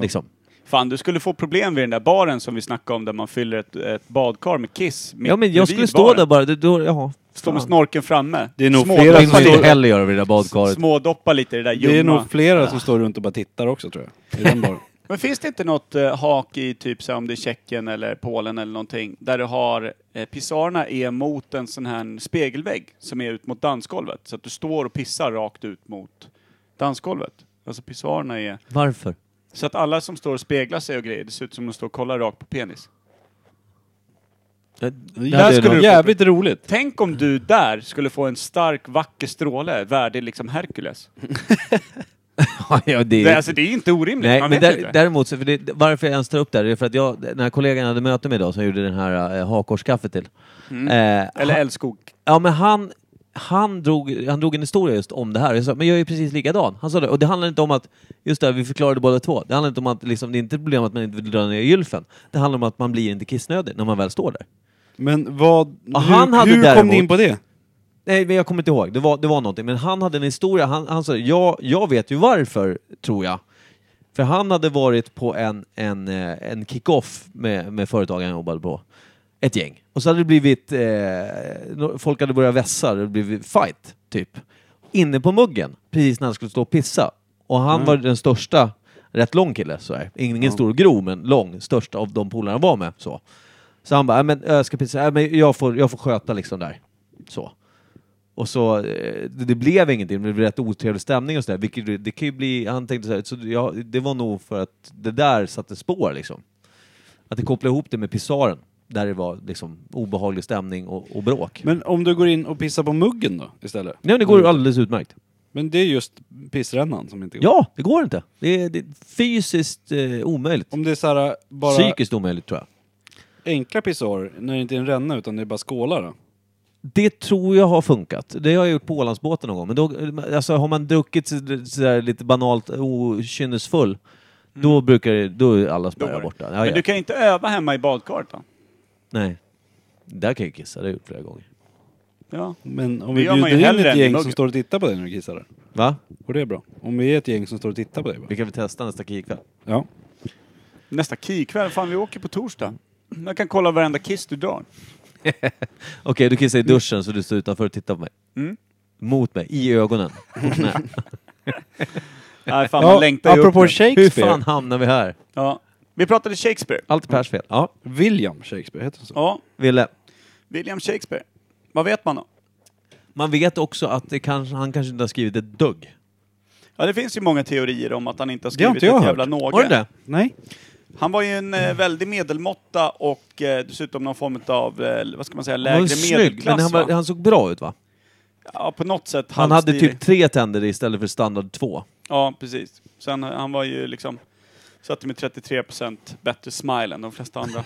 Speaker 2: Liksom.
Speaker 3: fan, du skulle få problem vid den där baren som vi snackade om där man fyller ett, ett badkar med kiss. mitt
Speaker 2: Ja, men jag
Speaker 3: bredvid
Speaker 2: skulle stå
Speaker 3: baren.
Speaker 2: där bara. det- Då, jaha.
Speaker 3: Stå med
Speaker 2: Fan.
Speaker 3: snorken framme.
Speaker 4: Det är nog
Speaker 3: Smådoppa-
Speaker 4: flera
Speaker 2: Det vill man
Speaker 4: som-
Speaker 2: inte heller göra vid det där badkaret.
Speaker 3: Smådoppa lite i det där
Speaker 4: Det är
Speaker 3: ljumma.
Speaker 4: nog flera som står runt och bara tittar också tror jag. I den baren.
Speaker 3: Men finns det inte något eh, hak i typ så här, om det är Tjeckien eller Polen eller någonting, där du har eh, pissarna är mot en sån här spegelvägg som är ut mot dansgolvet. Så att du står och pissar rakt ut mot dansgolvet. Alltså pissarna är...
Speaker 2: Varför?
Speaker 3: Så att alla som står och speglar sig och grejer, det ser ut som de står och kollar rakt på penis.
Speaker 2: Det,
Speaker 4: Det
Speaker 2: hade
Speaker 4: här
Speaker 2: jag
Speaker 4: skulle
Speaker 2: nog-
Speaker 4: du jävligt roligt.
Speaker 3: Tänk om du där skulle få en stark, vacker stråle, värdig liksom Herkules.
Speaker 2: ja, det,
Speaker 3: Det, alltså det är inte orimligt,
Speaker 2: Mm. Nej,
Speaker 3: man
Speaker 2: men
Speaker 3: vet
Speaker 2: där,
Speaker 3: inte.
Speaker 2: däremot, så, för det, varför jag ens tar upp det här, det är för att jag, den här kollegan jag hade möte med idag som gjorde den här eh, hakorskaffet till. Eh,
Speaker 3: Mm. Eller
Speaker 2: han,
Speaker 3: Älskog.
Speaker 2: ja, men han, han, drog, han drog en historia just om det här. Jag sa, men jag är ju precis likadan. Han sa det, och det handlar inte om att, just det, här, vi förklarade båda två. Det handlar inte om att, liksom, det är inte ett problem att man inte vill dra ner gylfen. Det handlar om att man blir inte kissnödig när man väl står där.
Speaker 4: Men vad...
Speaker 2: Ja,
Speaker 4: hur
Speaker 2: han hade
Speaker 4: hur kom
Speaker 2: däremot-
Speaker 4: ni in på det?
Speaker 2: Nej, men jag kommer inte ihåg. Det var, det var någonting. Men han hade en historia. Han, han sa ja, jag vet ju varför, tror jag. För han hade varit på en, en, eh, en kick-off med, med företagen han jobbade på. Ett gäng. Och så hade det blivit... Eh, no- folk hade börjat vässa. Det hade blivit fight, typ. Inne på muggen, precis när han skulle stå och pissa. Och han var den största, rätt lång kille. Så här. Ingen stor och grov, men lång. Största av de polarna han var med. Så, så han bara, "Äh, men jag ska pissa. Äh, men jag, får, jag får sköta liksom där. Så. Och så, eh, det det blev ingenting, men det blev rätt otrevlig stämning och sådär. Vilket det- det kan ju bli, han tänkte såhär, så ja, det var nog för att det där satte spår liksom. Att det kopplade ihop det med pisaren, där det var liksom obehaglig stämning och, och bråk. Men,
Speaker 4: Men om du går in och pissar på muggen då istället?
Speaker 2: Nej men det går alldeles utmärkt.
Speaker 4: Men det är just pissrännan som inte går.
Speaker 2: Ja, det går inte. Det är, det är fysiskt eh, omöjligt.
Speaker 4: Om det är så här, bara
Speaker 2: Psykiskt omöjligt tror jag.
Speaker 4: enkla pissoarer, när det inte är en ränna utan det är bara skålar då?
Speaker 2: Det tror jag har funkat. Det har jag gjort på Ålandsbåten någon gång. Men då, alltså, har man druckit så- sådär lite banalt okynnesfull, då brukar det, då är alla
Speaker 3: Mm. Då var
Speaker 2: spärrar
Speaker 3: det.
Speaker 2: borta. Ja,
Speaker 3: men
Speaker 2: ja.
Speaker 3: du kan ju inte öva hemma i badkaret då?
Speaker 2: Nej. Där kan jag kissa, det har jag gjort flera gånger.
Speaker 3: Ja.
Speaker 4: Men om
Speaker 3: Det
Speaker 4: vi
Speaker 3: gör man ju
Speaker 4: bjuder in
Speaker 3: hellre
Speaker 4: ett
Speaker 3: än i
Speaker 4: gäng
Speaker 3: muggen.
Speaker 4: som står och tittar på dig när du kissar där.
Speaker 2: Va?
Speaker 4: Och det är bra. Om vi är ett gäng som står och tittar på dig bara.
Speaker 2: Vi kan väl testa nästa kikväll?
Speaker 4: Ja.
Speaker 3: Nästa kikväll, fan vi åker på torsdag. Jag kan kolla varenda kiss du drar.
Speaker 2: Okej, du kissar i duschen så du står utanför och tittar på mig.
Speaker 3: Mm.
Speaker 2: Mot mig, i ögonen. på knä.
Speaker 3: Nej, fan, man
Speaker 4: ja
Speaker 3: längtar ju
Speaker 4: apropå
Speaker 3: upp nu.
Speaker 2: Hur
Speaker 4: Shakespeare.
Speaker 2: fan hamnar vi här?
Speaker 3: ja. Vi pratade Shakespeare.
Speaker 2: Allt är Pers fel. Ja,
Speaker 4: William Shakespeare, heter han så?
Speaker 3: Ja,
Speaker 2: Ville.
Speaker 3: William Shakespeare. Vad vet man då?
Speaker 2: Man vet också att det kanske, han kanske inte har skrivit ett dugg.
Speaker 3: Ja, det finns ju många teorier om att han inte har
Speaker 4: Det har
Speaker 3: skrivit
Speaker 4: inte jag
Speaker 3: ett
Speaker 4: hört.
Speaker 3: jävla något.
Speaker 2: Har du det?
Speaker 4: Nej.
Speaker 3: Han var ju en eh,
Speaker 2: Mm.
Speaker 3: väldig medelmåtta och eh, dessutom någon form av, eh, vad ska man säga,
Speaker 2: Han var
Speaker 3: lägre
Speaker 2: ju snygg, men
Speaker 3: medelklass.
Speaker 2: han, var,
Speaker 3: va?
Speaker 2: han såg bra ut va?
Speaker 3: Ja, på något sätt
Speaker 2: Han hade
Speaker 3: halvstilig.
Speaker 2: typ tre tänder istället för standard två.
Speaker 3: Ja, precis. Sen, eh, han var ju liksom, satt med 33% bättre smile än de flesta andra.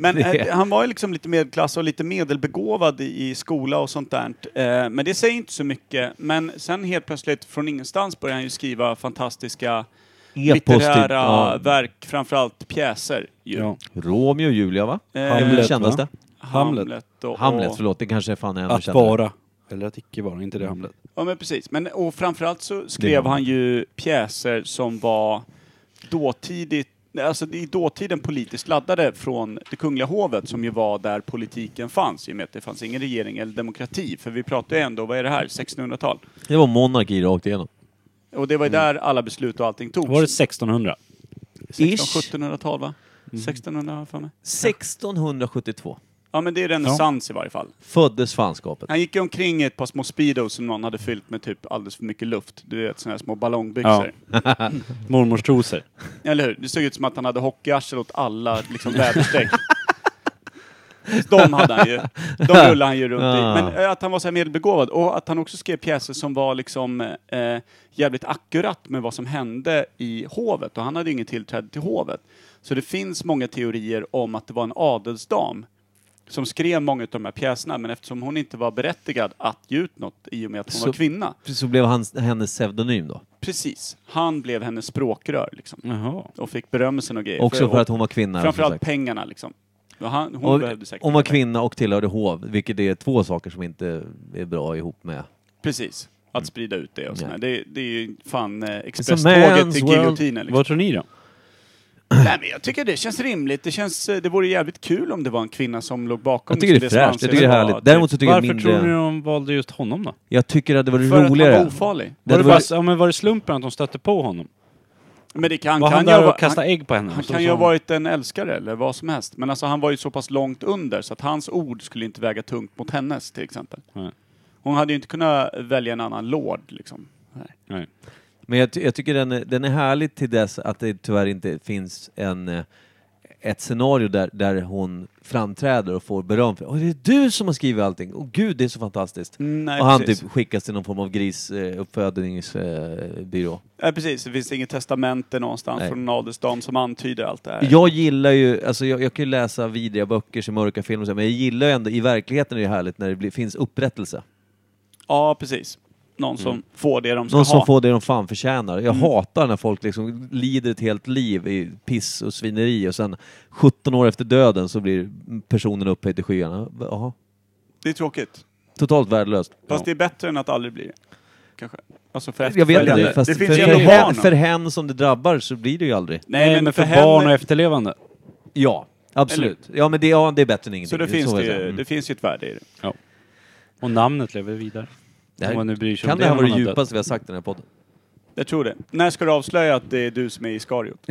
Speaker 3: Men
Speaker 2: Det-
Speaker 3: eh, han var ju liksom lite medelklass och lite medelbegåvad i, i skola och sånt där. Eh, men det säger inte så mycket. Men sen helt plötsligt från ingenstans började han ju skriva fantastiska
Speaker 2: Epos typ.
Speaker 3: litterära
Speaker 2: Ja.
Speaker 3: verk, framförallt pjäser. Ju.
Speaker 4: Ja.
Speaker 2: Romeo och Julia va?
Speaker 3: Eh,
Speaker 2: Det är väl det
Speaker 4: Hamlet,
Speaker 2: kändaste?
Speaker 3: Hamlet. och,
Speaker 2: Hamlet,
Speaker 3: och,
Speaker 2: förlåt. Det kanske är fan är ännu
Speaker 4: Att
Speaker 2: kändare.
Speaker 4: vara. Eller att icke vara, inte det Hamlet.
Speaker 3: Ja, men precis. Men, och framförallt så
Speaker 2: Det är
Speaker 3: skrev
Speaker 2: han.
Speaker 3: han ju pjäser som var dåtidigt nej, Alltså i dåtiden politiskt laddade från det kungliga hovet som ju var där politiken fanns i och med att det fanns ingen regering eller demokrati. För vi pratar ju ändå, vad är det här, 1600-tal?
Speaker 2: Det var monarki rakt igenom.
Speaker 3: Och det var ju där alla beslut och allting togs.
Speaker 4: Var det 1600?
Speaker 3: 1600 1700-tal va? 1600 har jag för mig.
Speaker 2: 1672
Speaker 3: Ja men det är renässans i varje fall.
Speaker 2: föddes fanskapet.
Speaker 3: Han gick ju omkring i ett par små Speedos som någon hade fyllt med typ alldeles för mycket luft. Du vet sådana här små ballongbyxor.
Speaker 4: Mormors trosor.
Speaker 3: Eller hur? Det såg ut som att han hade hockeyarsel åt alla liksom, väderstreck. De hade han ju. De rullade han ju runt
Speaker 2: Ja.
Speaker 3: i. Men eh, att han var så här medelbegåvad och att han också skrev pjäser som var liksom eh, jävligt akkurat med vad som hände i hovet. Och han hade ju inget tillträde till hovet. Så det finns många teorier om att det var en adelsdam som skrev många av de här pjäserna. Men eftersom hon inte var berättigad att ge ut något i och med att hon
Speaker 2: Så-
Speaker 3: var kvinna.
Speaker 2: Så blev hans, hennes pseudonym då.
Speaker 3: Precis. Han blev hennes språkrör liksom.
Speaker 4: Jaha.
Speaker 3: Och fick berömmelsen och grejer.
Speaker 2: Också för att
Speaker 3: och
Speaker 2: hon var kvinna. då, som
Speaker 3: Framförallt
Speaker 2: sagt.
Speaker 3: pengarna liksom. Och Han, hon
Speaker 2: Och,
Speaker 3: behövde säkert
Speaker 2: hon var
Speaker 3: pengar.
Speaker 2: kvinna och tillhörde hov, vilket är två saker som inte är bra ihop med.
Speaker 3: Precis. Att sprida ut det och sådär.
Speaker 2: Mm. Ja.
Speaker 3: Det, det är ju fan eh,
Speaker 2: man's
Speaker 3: expresståget till
Speaker 2: world.
Speaker 3: giljotinen. Liksom.
Speaker 4: Vad tror ni då?
Speaker 3: Nej, men jag tycker det känns rimligt. Det, känns, eh, det vore jävligt kul om det var en kvinna som låg bakom.
Speaker 2: Jag tycker det är
Speaker 3: som
Speaker 2: fräscht,
Speaker 3: som
Speaker 2: jag tycker det är
Speaker 3: anses vara,
Speaker 2: härligt.
Speaker 3: typ,
Speaker 2: Däremot så tycker jag
Speaker 4: Varför
Speaker 2: mindre...
Speaker 4: tror ni de valde just honom då?
Speaker 2: Jag tycker att det hade
Speaker 3: För
Speaker 2: varit roligare.
Speaker 3: att han var ofarlig.
Speaker 2: Det
Speaker 4: Var det,
Speaker 2: hade
Speaker 4: bara,
Speaker 2: varit-
Speaker 4: ja, men var det slumpen att de stötte på honom?
Speaker 3: Men det kan,
Speaker 4: var
Speaker 3: kan
Speaker 4: han
Speaker 3: ju ha
Speaker 4: där
Speaker 3: va-
Speaker 4: och kastade
Speaker 3: han,
Speaker 4: ägg på henne?
Speaker 3: han
Speaker 4: Så
Speaker 3: kan
Speaker 4: sa
Speaker 3: ju ha
Speaker 4: hon,
Speaker 3: varit en älskare eller vad som helst. Men alltså han var ju så pass långt under så att hans ord skulle inte väga tungt mot hennes till exempel.
Speaker 4: Nej.
Speaker 3: Hon hade ju inte kunnat välja en annan lord liksom.
Speaker 4: Nej.
Speaker 2: Men jag, ty- jag tycker den är, den är härlig till dess att det tyvärr inte finns en, eh, ett scenario där, där hon framträder och får beröm för "Åh, det. är du som har skrivit allting! Åh gud, det är så fantastiskt!
Speaker 3: Mm, Nej,
Speaker 2: och han
Speaker 3: precis.
Speaker 2: typ skickas till någon form av eh, grisuppfödningsbyrå.
Speaker 3: Nej, precis. Det finns inget testamente någonstans
Speaker 2: Nej.
Speaker 3: från en adelsdam som antyder allt det här.
Speaker 2: Jag gillar ju, alltså jag, jag kan ju läsa vidriga böcker, se mörka filmer och så, men jag gillar ju ändå, i verkligheten är det härligt när det blir, finns upprättelse.
Speaker 3: Ja, precis. Någon som får det de ska
Speaker 2: Mm. Någon som
Speaker 3: ha.
Speaker 2: får det de fan förtjänar.
Speaker 4: Mm.
Speaker 2: Jag hatar när folk liksom lider ett helt liv i piss och svineri och sen 17 år efter döden så blir personen upphöjd till skyarna. Jaha.
Speaker 3: Det är tråkigt.
Speaker 2: Totalt värdelöst.
Speaker 3: Fast det är bättre än att aldrig bli det. Kanske. Alltså för
Speaker 2: Jag vet
Speaker 3: efterföljande.
Speaker 2: inte, fast
Speaker 3: det
Speaker 2: för,
Speaker 3: finns ju
Speaker 2: för,
Speaker 3: ändå barn.
Speaker 2: hen, för hen som det drabbar så blir det ju aldrig.
Speaker 4: Nej, men, för, barn och efterlevande.
Speaker 2: Ja, absolut. Ja, men det, ja, det är bättre än
Speaker 3: Så
Speaker 2: ingenting.
Speaker 3: det finns,
Speaker 2: vill jag
Speaker 3: det,
Speaker 2: säga.
Speaker 3: ju,
Speaker 2: Mm.
Speaker 3: det finns ju ett värde i det.
Speaker 4: Och namnet lever vidare.
Speaker 2: Det
Speaker 4: Om man nu Mm. bryr sig
Speaker 2: kan
Speaker 4: om
Speaker 2: det här
Speaker 4: när
Speaker 2: vara det
Speaker 4: man har dött.
Speaker 2: djupaste vi har sagt i den här podden?
Speaker 3: Jag tror det. När ska du avslöja att det är du som är Iskariot?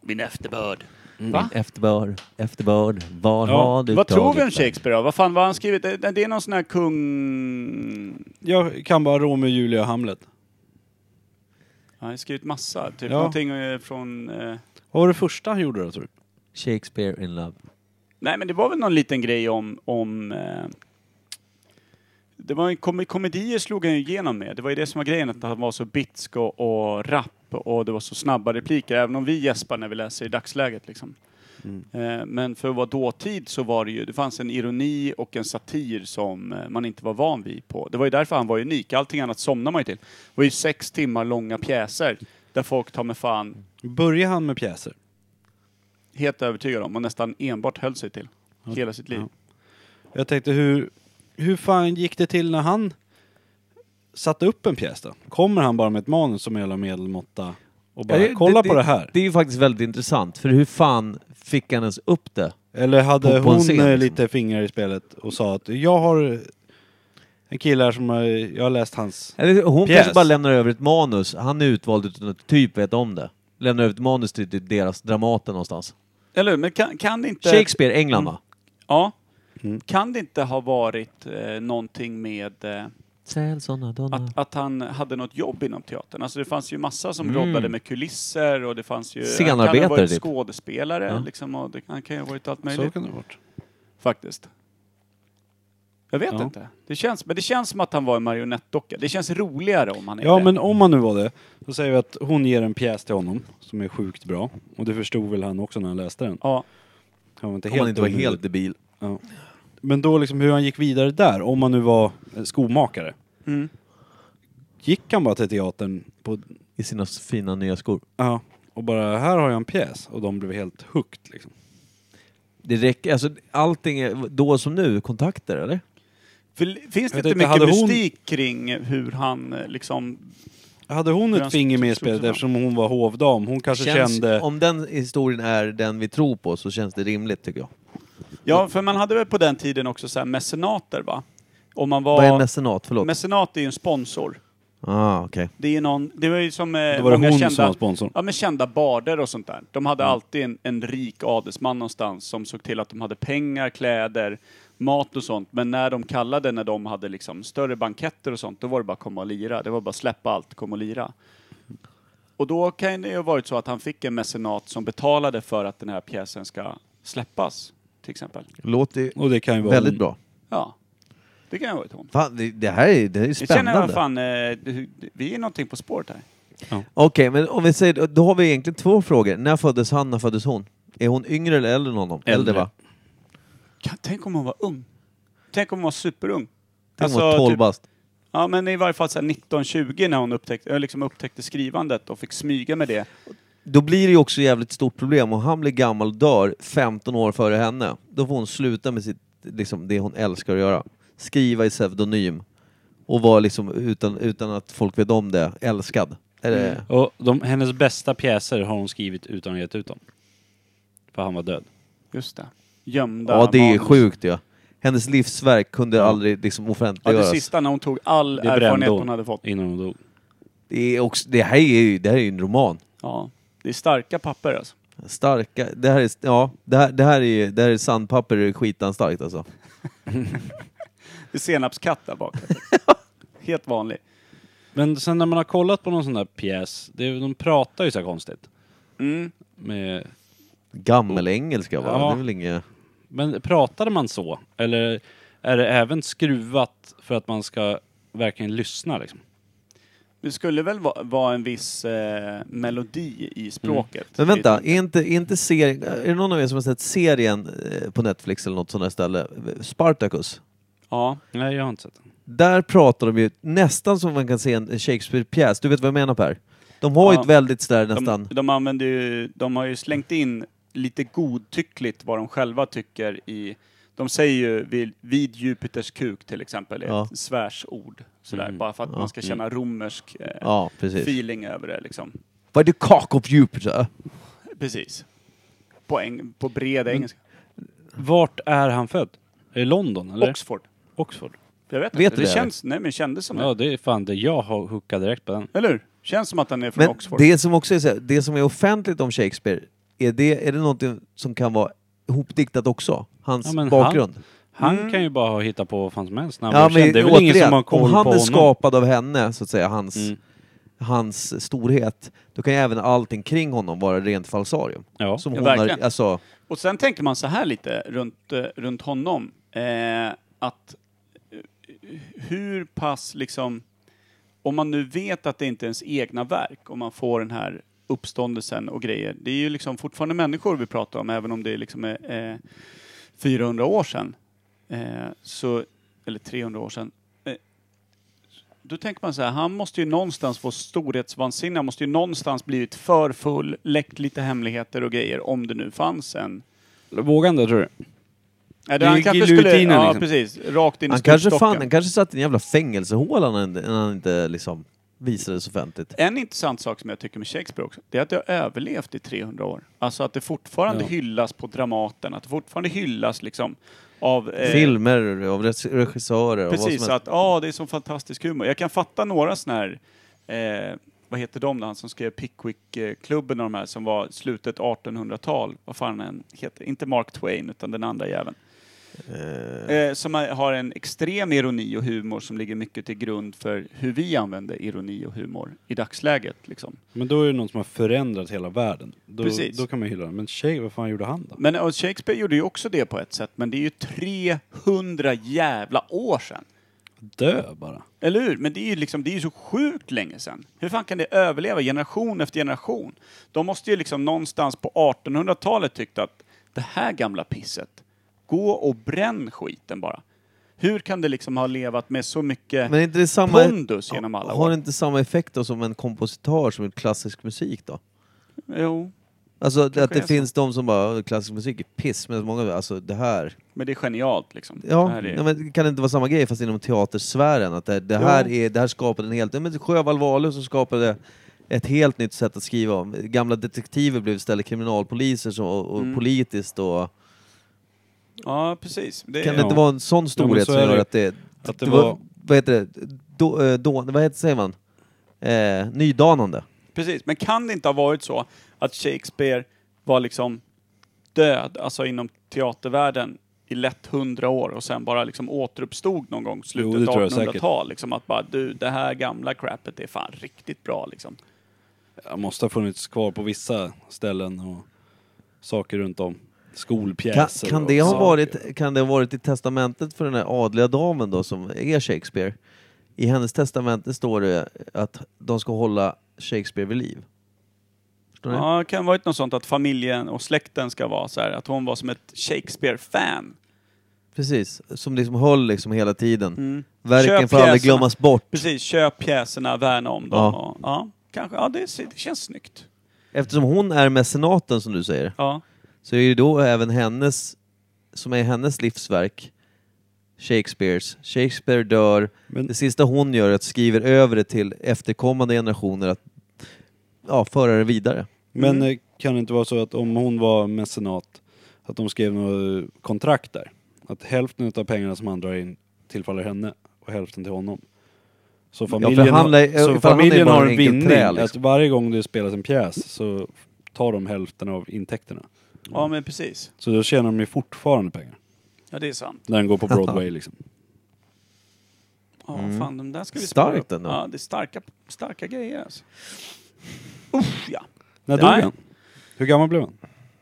Speaker 3: Min efterbörd. Va?
Speaker 2: Efterbörd, efterbörd, var
Speaker 4: Ja,
Speaker 2: har du
Speaker 3: Vad tror
Speaker 2: tagit
Speaker 3: vi om
Speaker 2: den?
Speaker 3: Shakespeare då? Vad fan, vad har han skrivit? Det det är någon sån här kung...
Speaker 4: Jag kan bara Romeo, Julia och Hamlet.
Speaker 3: Han har skrivit massa. Typ
Speaker 4: Ja.
Speaker 3: någonting eh, från... eh,
Speaker 4: Vad var det första han gjorde då tror du?
Speaker 2: Shakespeare in love.
Speaker 3: Nej, men det var väl någon liten grej om... om eh, det var en kom komedier slog han ju igenom med. Det var ju det som var grejen, att han var så bitsk och, och rapp och det var så snabba repliker, även om vi gäspar när vi läser i dagsläget. Liksom.
Speaker 4: Mm.
Speaker 3: Eh, men för att vara dåtid så var det ju, det fanns en ironi och en satir som eh, man inte var van vid på. Det var ju därför han var unik, allting annat somnar man ju till. Det var ju sex timmar långa pjäser där folk tar med fan
Speaker 4: Började han med pjäser?
Speaker 3: helt övertygad om och nästan enbart höll sig till. Hela sitt liv.
Speaker 4: Ja. Jag tänkte hur, hur fan gick det till när han satte upp en pjäs då? Kommer han bara med ett manus som är jävla medelmåtta och bara
Speaker 2: Ja, det-
Speaker 4: kolla på det här?
Speaker 2: Det är ju faktiskt väldigt intressant, för hur fan fick han ens upp det?
Speaker 4: Eller
Speaker 2: på-
Speaker 4: hade
Speaker 2: på en
Speaker 4: hon
Speaker 2: scen,
Speaker 4: eh,
Speaker 2: liksom.
Speaker 4: lite fingrar i spelet och sa att jag har en kille här som har, jag har läst hans...
Speaker 2: Eller hon
Speaker 4: Pjäs.
Speaker 2: kanske bara lämnar över ett manus, han är utvald utan att typ vet om det. Lämnar över ett manus till till deras Dramaten någonstans.
Speaker 3: Eller hur? Men kan, kan det inte...
Speaker 2: Shakespeare, England va?
Speaker 3: Ja.
Speaker 4: Mm.
Speaker 3: Kan det inte ha varit eh, någonting med eh,
Speaker 2: Sälsona, donna.
Speaker 4: Mm.
Speaker 3: att, att han hade något jobb inom teatern? Alltså det fanns ju massa som
Speaker 2: Mm.
Speaker 3: jobbade med kulisser och det fanns ju... Han kan
Speaker 2: Scenarbetare,
Speaker 3: ha varit
Speaker 2: typ.
Speaker 3: skådespelare
Speaker 2: Ja.
Speaker 3: liksom och det, han kan ju ha varit allt
Speaker 4: Så
Speaker 3: möjligt
Speaker 4: kan det ha varit.
Speaker 3: faktiskt. Jag vet
Speaker 4: Ja.
Speaker 3: inte. Det känns, men det känns som att han var en marionettdocka. Det känns roligare om han är
Speaker 4: Ja
Speaker 3: det.
Speaker 4: men om han nu var det, då säger vi att hon ger en pjäs till honom som är sjukt bra. Och det förstod väl han också när han läste den.
Speaker 3: Ja.
Speaker 4: Han var inte
Speaker 2: Om
Speaker 4: helt
Speaker 2: han inte var
Speaker 4: dum i
Speaker 2: helt debil.
Speaker 4: huvudet. Ja. Men då liksom hur han gick vidare där, om han nu var eh, skomakare.
Speaker 3: Mm.
Speaker 4: Gick han bara till teatern på,
Speaker 2: I sina fina nya skor.
Speaker 4: ja, och bara här har jag en pjäs och de blev helt hooked liksom.
Speaker 2: Det räcker, alltså allting är då som nu, kontakter eller?
Speaker 3: För, finns det
Speaker 4: vet
Speaker 3: inte
Speaker 4: inte, hade
Speaker 3: mycket
Speaker 4: hon-
Speaker 3: mystik kring hur han eh, liksom...
Speaker 4: Hade hon ett
Speaker 3: Grönsk-
Speaker 4: finger med i
Speaker 3: slog sig
Speaker 4: spelet
Speaker 3: fram.
Speaker 4: eftersom hon var hovdam? Hon kanske Alltså, kände...
Speaker 2: Om den historien är den vi tror på så känns det rimligt tycker jag.
Speaker 3: Ja, för man hade väl på den tiden också så här mecenater va? Om man var...
Speaker 2: Vad är en mecenat? Förlåt.
Speaker 3: Mecenat är ju en sponsor.
Speaker 2: ah, okej.
Speaker 3: Det är ju någon, det var ju som eh,
Speaker 4: Då var det
Speaker 3: många
Speaker 4: hon
Speaker 3: kända,
Speaker 4: som var sponsorn.
Speaker 3: Ja, men kända barder och sånt där. De hade alltid en, en rik adelsman någonstans som såg till att de hade pengar, kläder, mat och sånt. Men när de kallade, när de hade liksom större banketter och sånt, då var det bara att komma och lira. Det var bara att släppa allt, komma och lira. Och då kan det ju ha varit så att han fick en mecenat som betalade för att den här pjäsen ska släppas, till exempel.
Speaker 2: Låter
Speaker 4: Och det kan ju vara...
Speaker 2: väldigt bra.
Speaker 3: Ja, det kan ju vara ett hån.
Speaker 2: Fan, det, det här är, det här är
Speaker 3: Jag känner
Speaker 2: spännande.
Speaker 3: vad fan, eh, du- vi är någonting på spåret här.
Speaker 2: Okej, men om vi säger, då har vi egentligen två frågor. När föddes han, när föddes hon? Är hon yngre eller äldre än honom? Äldre, va?
Speaker 3: Kan- Tänk om hon var ung. Tänk om hon var superung.
Speaker 2: Tänk om hon var 12
Speaker 3: typ-
Speaker 2: bast.
Speaker 3: Ja, men i varje fall så här 1920 när hon upptäckte, eller liksom upptäckte skrivandet och fick smyga med det.
Speaker 2: Då blir det ju också jävligt stort problem om han blir gammal och dör 15 år före henne. Då får hon sluta med sitt, liksom, det hon älskar att göra. Skriva i pseudonym. Och vara liksom, utan, utan att folk vet om det, älskad. Är
Speaker 3: Mm.
Speaker 2: det,
Speaker 4: Och de, hennes bästa pjäser har hon skrivit utan att gett ut dem. För han var död.
Speaker 3: Just det. Gömda
Speaker 2: ja, det är
Speaker 3: manus.
Speaker 2: sjukt ju. Ja. Hennes livsverk kunde aldrig liksom,
Speaker 3: Ja, det
Speaker 2: offentliggöras.
Speaker 3: sista när hon tog all
Speaker 4: Det brände
Speaker 3: erfarenhet hon.
Speaker 4: hon
Speaker 3: hade fått.
Speaker 4: innan hon dog.
Speaker 2: det, är också, det här är ju det här är ju en roman.
Speaker 3: Ja. Det är starka papper alltså.
Speaker 2: Starka, det här är, ja, det här, det här är, det här är sandpapper skitanstarkt alltså.
Speaker 3: Det är senapskatt där bak. Helt vanlig.
Speaker 4: Men sen när man har kollat på någon sån där pjäs, det, är- de pratar ju så här konstigt.
Speaker 3: Mm.
Speaker 4: Med,
Speaker 2: Gammel engelska va?
Speaker 4: Ja. Typ.
Speaker 2: Det är väl inget...
Speaker 4: men pratade man så? Eller är det även skruvat för att man ska verkligen lyssna liksom?
Speaker 3: Det skulle väl va- vara en viss eh, melodi i språket.
Speaker 2: Mm. Men vänta, är inte, är inte serien, är det någon av er som har sett serien eh, på Netflix eller något sånt där ställe? Spartacus?
Speaker 3: Ja.
Speaker 4: Nej, jag har inte sett den.
Speaker 2: Där pratar de ju nästan som man kan se en en Shakespeare-pjäs, du vet vad jag menar Per? De har ju
Speaker 3: Ja.
Speaker 2: ett väldigt sådär nästan...
Speaker 3: De, de, använder ju, de har ju slängt in lite godtyckligt vad de själva tycker i... De säger ju vid, vid Jupiters kuk till exempel, är
Speaker 2: Ja.
Speaker 3: ett svärsord. Sådär,
Speaker 4: Mm.
Speaker 3: Bara för att
Speaker 2: Ja.
Speaker 3: man ska känna romersk eh,
Speaker 2: Ja, precis.
Speaker 3: feeling över det liksom.
Speaker 2: Vad är the cock of Jupiter?
Speaker 3: Precis. På, eng, på bred
Speaker 4: Mm.
Speaker 3: engelska.
Speaker 4: Vart är han född? Är det London eller?
Speaker 3: Oxford.
Speaker 4: Oxford.
Speaker 3: Jag vet,
Speaker 2: Vet
Speaker 3: inte.
Speaker 2: du
Speaker 3: Det,
Speaker 2: det,
Speaker 3: känns, nej, men det kändes som
Speaker 4: Ja, det är fan det jag har hookat direkt på den.
Speaker 3: det. Eller hur? Känns som att han är från
Speaker 2: Men
Speaker 3: Oxford.
Speaker 2: det som också är så här, det som är offentligt om Shakespeare, är det, är det någonting som kan vara hopdiktat också? Hans
Speaker 4: Ja, men
Speaker 2: bakgrund?
Speaker 4: Han
Speaker 3: Mm.
Speaker 4: kan ju bara ha hittat på vad fan som helst när han
Speaker 2: ja,
Speaker 4: var
Speaker 2: men
Speaker 4: känd. Det är väl ingen
Speaker 2: återigen,
Speaker 4: som har koll
Speaker 2: om
Speaker 4: på
Speaker 2: han är
Speaker 4: honom.
Speaker 2: skapad av henne, så att säga, hans,
Speaker 4: Mm.
Speaker 2: hans storhet, då kan ju även allting kring honom vara rent falsarium.
Speaker 4: Ja.
Speaker 2: Som
Speaker 3: Ja,
Speaker 2: hon har,
Speaker 3: verkligen.
Speaker 2: alltså,
Speaker 3: Och sen tänker man så här lite runt, eh, runt honom. Eh, att eh, hur pass liksom... Om man nu vet att det inte är ens egna verk, om man får den här uppståndelsen och grejer. Det är ju liksom fortfarande människor vi pratar om, även om det liksom är eh, 400 år sedan. Eh, så, eller 300 år sedan. Eh, Då tänker man så här, han måste ju någonstans få storhetsvansinne, han måste ju någonstans blivit för full, läckt lite hemligheter och grejer, om det nu fanns en.
Speaker 4: Vågar han det tror du?
Speaker 3: Nej,
Speaker 4: Det
Speaker 3: det
Speaker 4: är
Speaker 3: han
Speaker 4: ju
Speaker 3: kanske skulle,
Speaker 4: giljotinen,
Speaker 3: ja,
Speaker 4: liksom.
Speaker 3: precis, rakt in i
Speaker 2: han, kanske fan, han
Speaker 3: stupstocken.
Speaker 2: kanske satt i en jävla fängelsehåla när han, när han inte liksom, visades offentligt.
Speaker 3: En intressant sak som jag tycker med Shakespeare också, det är att det har överlevt i 300 år. Alltså att det fortfarande
Speaker 4: Ja.
Speaker 3: hyllas på Dramaten, att det fortfarande hyllas liksom av... eh,
Speaker 2: Filmer av res- regissörer och vad som
Speaker 3: Precis,
Speaker 2: helst.
Speaker 3: att ja, det är sån fantastisk humor. Jag kan fatta några sådana här, eh, vad heter de då, han som skrev Pickwick-klubben och de här som var slutet 1800-tal, vad fan han heter, inte Mark Twain utan den andra jäveln. Eh, som har en extrem ironi och humor som ligger mycket till grund för hur vi använder ironi och humor i dagsläget. Liksom.
Speaker 4: Men då är det någon som har förändrat hela världen. Då,
Speaker 3: Precis.
Speaker 4: då kan man hylla den. Men tjej, vad fan gjorde han då?
Speaker 3: Men och Shakespeare gjorde ju också det på ett sätt, men det är ju 300 jävla år sedan.
Speaker 4: Dö bara.
Speaker 3: Eller hur? Men det är ju liksom, det är ju så sjukt länge sedan. Hur fan kan det överleva generation efter generation? De måste ju liksom någonstans på 1800-talet tyckt att det här gamla pisset, gå och bränn skiten bara. Hur kan det liksom ha levat med så mycket
Speaker 2: Men är inte det samma...
Speaker 3: pondus genom alla
Speaker 2: Har
Speaker 3: år?
Speaker 2: det inte samma effekt då som en kompositör som gjort klassisk musik då?
Speaker 3: Jo,
Speaker 2: Alltså att
Speaker 3: är
Speaker 2: det
Speaker 3: så.
Speaker 2: finns de som bara, "Åh, klassisk musik är piss, men många, alltså det här.
Speaker 3: men det är genialt liksom.
Speaker 2: Ja,
Speaker 3: det här är,
Speaker 2: nej, men kan det inte vara samma grej fast inom teatersfären? Att det, det, här, är, det här skapade en helt, nej, men Sjöwall Wahlöö som skapade ett helt nytt sätt att skriva om. Gamla detektiver blev istället kriminalpoliser som, och, och
Speaker 3: Mm.
Speaker 2: politiskt och...
Speaker 3: ja, precis. Det
Speaker 2: Kan
Speaker 3: är,
Speaker 2: det inte vara en sån storhet
Speaker 4: så
Speaker 2: som
Speaker 4: är
Speaker 2: gör
Speaker 4: det.
Speaker 2: att det...
Speaker 4: Att
Speaker 2: det,
Speaker 4: det
Speaker 2: var,
Speaker 4: var-
Speaker 2: vad heter det? Då, eh, då, vad heter, säger man? Eh, nydanande.
Speaker 3: Precis, men kan det inte ha varit så att Shakespeare var liksom död, alltså inom teatervärlden i lätt hundra år och sen bara liksom återuppstod någon gång
Speaker 4: Jo, det
Speaker 3: slutet
Speaker 4: tror
Speaker 3: av
Speaker 4: jag
Speaker 3: 1800-tal. Liksom att bara du, det här gamla crapet är fan riktigt bra liksom.
Speaker 4: Jag måste ha funnits kvar på vissa ställen och saker runt om.
Speaker 2: Kan,
Speaker 4: skolpjäser.
Speaker 2: kan,
Speaker 4: och
Speaker 2: det ha
Speaker 4: saker.
Speaker 2: varit, kan det ha varit i testamentet för den här adliga damen då som är Shakespeare? I hennes testamente står det att de ska hålla Shakespeare vid liv. Förstår ni?
Speaker 3: Ja, det kan ha varit något sånt att familjen och släkten ska vara så här, att hon var som ett Shakespeare-fan.
Speaker 2: Precis, som liksom höll liksom hela tiden.
Speaker 3: Mm.
Speaker 2: Verken
Speaker 3: Köp
Speaker 2: får aldrig
Speaker 3: pjäserna.
Speaker 2: glömmas bort.
Speaker 3: Precis, köp pjäserna, värna om dem.
Speaker 2: Ja.
Speaker 3: Ja. Och, ja, kanske. Ja, det, ser- det känns snyggt.
Speaker 2: Eftersom hon är mecenaten som du säger,
Speaker 3: Ja.
Speaker 2: så är ju då även hennes, som är hennes livsverk, Shakespeares. Shakespeare dör,
Speaker 4: Men-
Speaker 2: det sista hon gör är att skriver över det till efterkommande generationer att ja, föra det vidare.
Speaker 4: Men eh, kan det inte vara så att om hon var mecenat, att de skrev något kontrakt där? Att hälften av pengarna som han drar in tillfaller henne och hälften till honom. Så familjen,
Speaker 2: han
Speaker 4: har-
Speaker 2: är- för han
Speaker 4: så
Speaker 2: är
Speaker 4: familjen
Speaker 2: bara
Speaker 4: har
Speaker 2: en
Speaker 4: en
Speaker 2: enkel
Speaker 4: vinning.
Speaker 2: trä, liksom.
Speaker 4: Att varje gång det spelas en pjäs så tar de hälften av intäkterna.
Speaker 3: ja, men precis.
Speaker 4: Så då tjänar de ju fortfarande pengar.
Speaker 3: Ja, det är sant.
Speaker 4: När den går på Broadway liksom.
Speaker 3: Ja, fan, de där ska vi
Speaker 2: Mm. Starkt
Speaker 3: spara upp.
Speaker 2: ändå.
Speaker 3: Ja, det är starka, starka grejer alltså. Usch, ja.
Speaker 4: När dog
Speaker 3: Nej.
Speaker 4: han? Hur gammal blev han?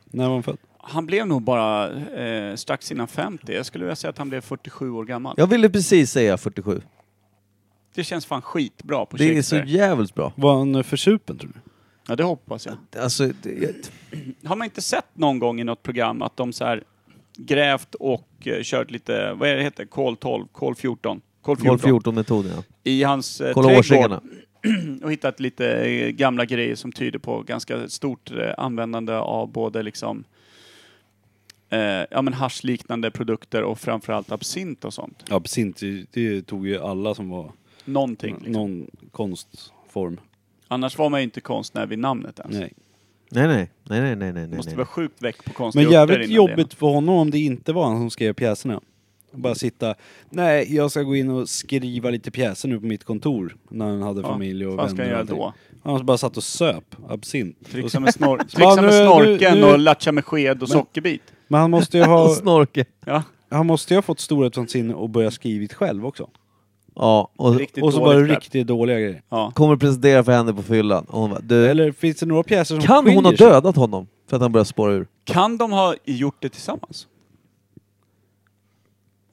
Speaker 4: När var han född?
Speaker 3: Han blev nog bara eh, strax innan 50. Jag skulle vilja säga att han blev 47 år gammal.
Speaker 2: Jag ville precis säga 47.
Speaker 3: Det känns fan skitbra på
Speaker 2: Det är så
Speaker 3: Shakespeare.
Speaker 2: jävligt bra.
Speaker 4: Var han eh, försupen tror du?
Speaker 3: Ja, det hoppas jag.
Speaker 2: Alltså, det,
Speaker 3: Har man inte sett någon gång i något program att de så här grävt och eh, kört lite, vad är det heter, kol 12, kol 14, kol 14,
Speaker 2: Golf 14-metoden ja.
Speaker 3: i hans eh,
Speaker 2: Kolla
Speaker 3: trädgård
Speaker 2: årsringarna.
Speaker 3: och hittat lite eh, gamla grejer som tyder på ganska stort eh, användande av både liksom eh, ja, men haschliknande produkter och framförallt absint och sånt.
Speaker 4: Ja, absint, det, det tog ju alla som var
Speaker 3: Någonting. Liksom.
Speaker 4: någon konstform.
Speaker 3: Annars var man ju inte konstnär vid namnet ens.
Speaker 4: Nej.
Speaker 2: Nej, nej, nej, nej, nej, nej,
Speaker 3: Det måste
Speaker 2: nej.
Speaker 3: vara sjukt väck på konstiga
Speaker 4: Men
Speaker 3: örter
Speaker 4: jävligt
Speaker 3: innan det.
Speaker 4: jobbigt för honom om det inte var han som skrev pjäserna. Bara sitta, nej jag ska gå in och skriva lite pjäser nu på mitt kontor. När han hade
Speaker 3: Ja,
Speaker 4: familj och
Speaker 3: Vad ska jag
Speaker 4: vänner.
Speaker 3: göra
Speaker 4: och allting.
Speaker 3: då?
Speaker 4: Han bara satt och söp absint. Och
Speaker 3: Trixa
Speaker 4: så-
Speaker 3: med, snor
Speaker 4: Ja,
Speaker 3: trixa med
Speaker 4: nu- nu-
Speaker 3: snorken
Speaker 4: nu-
Speaker 3: och latcha med sked och sockerbit.
Speaker 4: Men han måste ju
Speaker 2: Och
Speaker 4: ha,
Speaker 2: snorke.
Speaker 3: Ja.
Speaker 4: han måste ju ha fått storhetsvansinne och börja skrivit själv också.
Speaker 2: Ja, och
Speaker 3: Riktigt
Speaker 4: Och så bara
Speaker 3: dåligt rap.
Speaker 4: riktigt dåliga grejer.
Speaker 3: Ja.
Speaker 2: kommer presentera för henne på fyllan. Och hon bara, du,
Speaker 4: Eller finns det några pjäser som
Speaker 2: kan
Speaker 4: skiljer
Speaker 2: hon ha
Speaker 4: sig?
Speaker 2: dödat honom? För att han börjar spåra ur.
Speaker 3: Kan de ha gjort det tillsammans?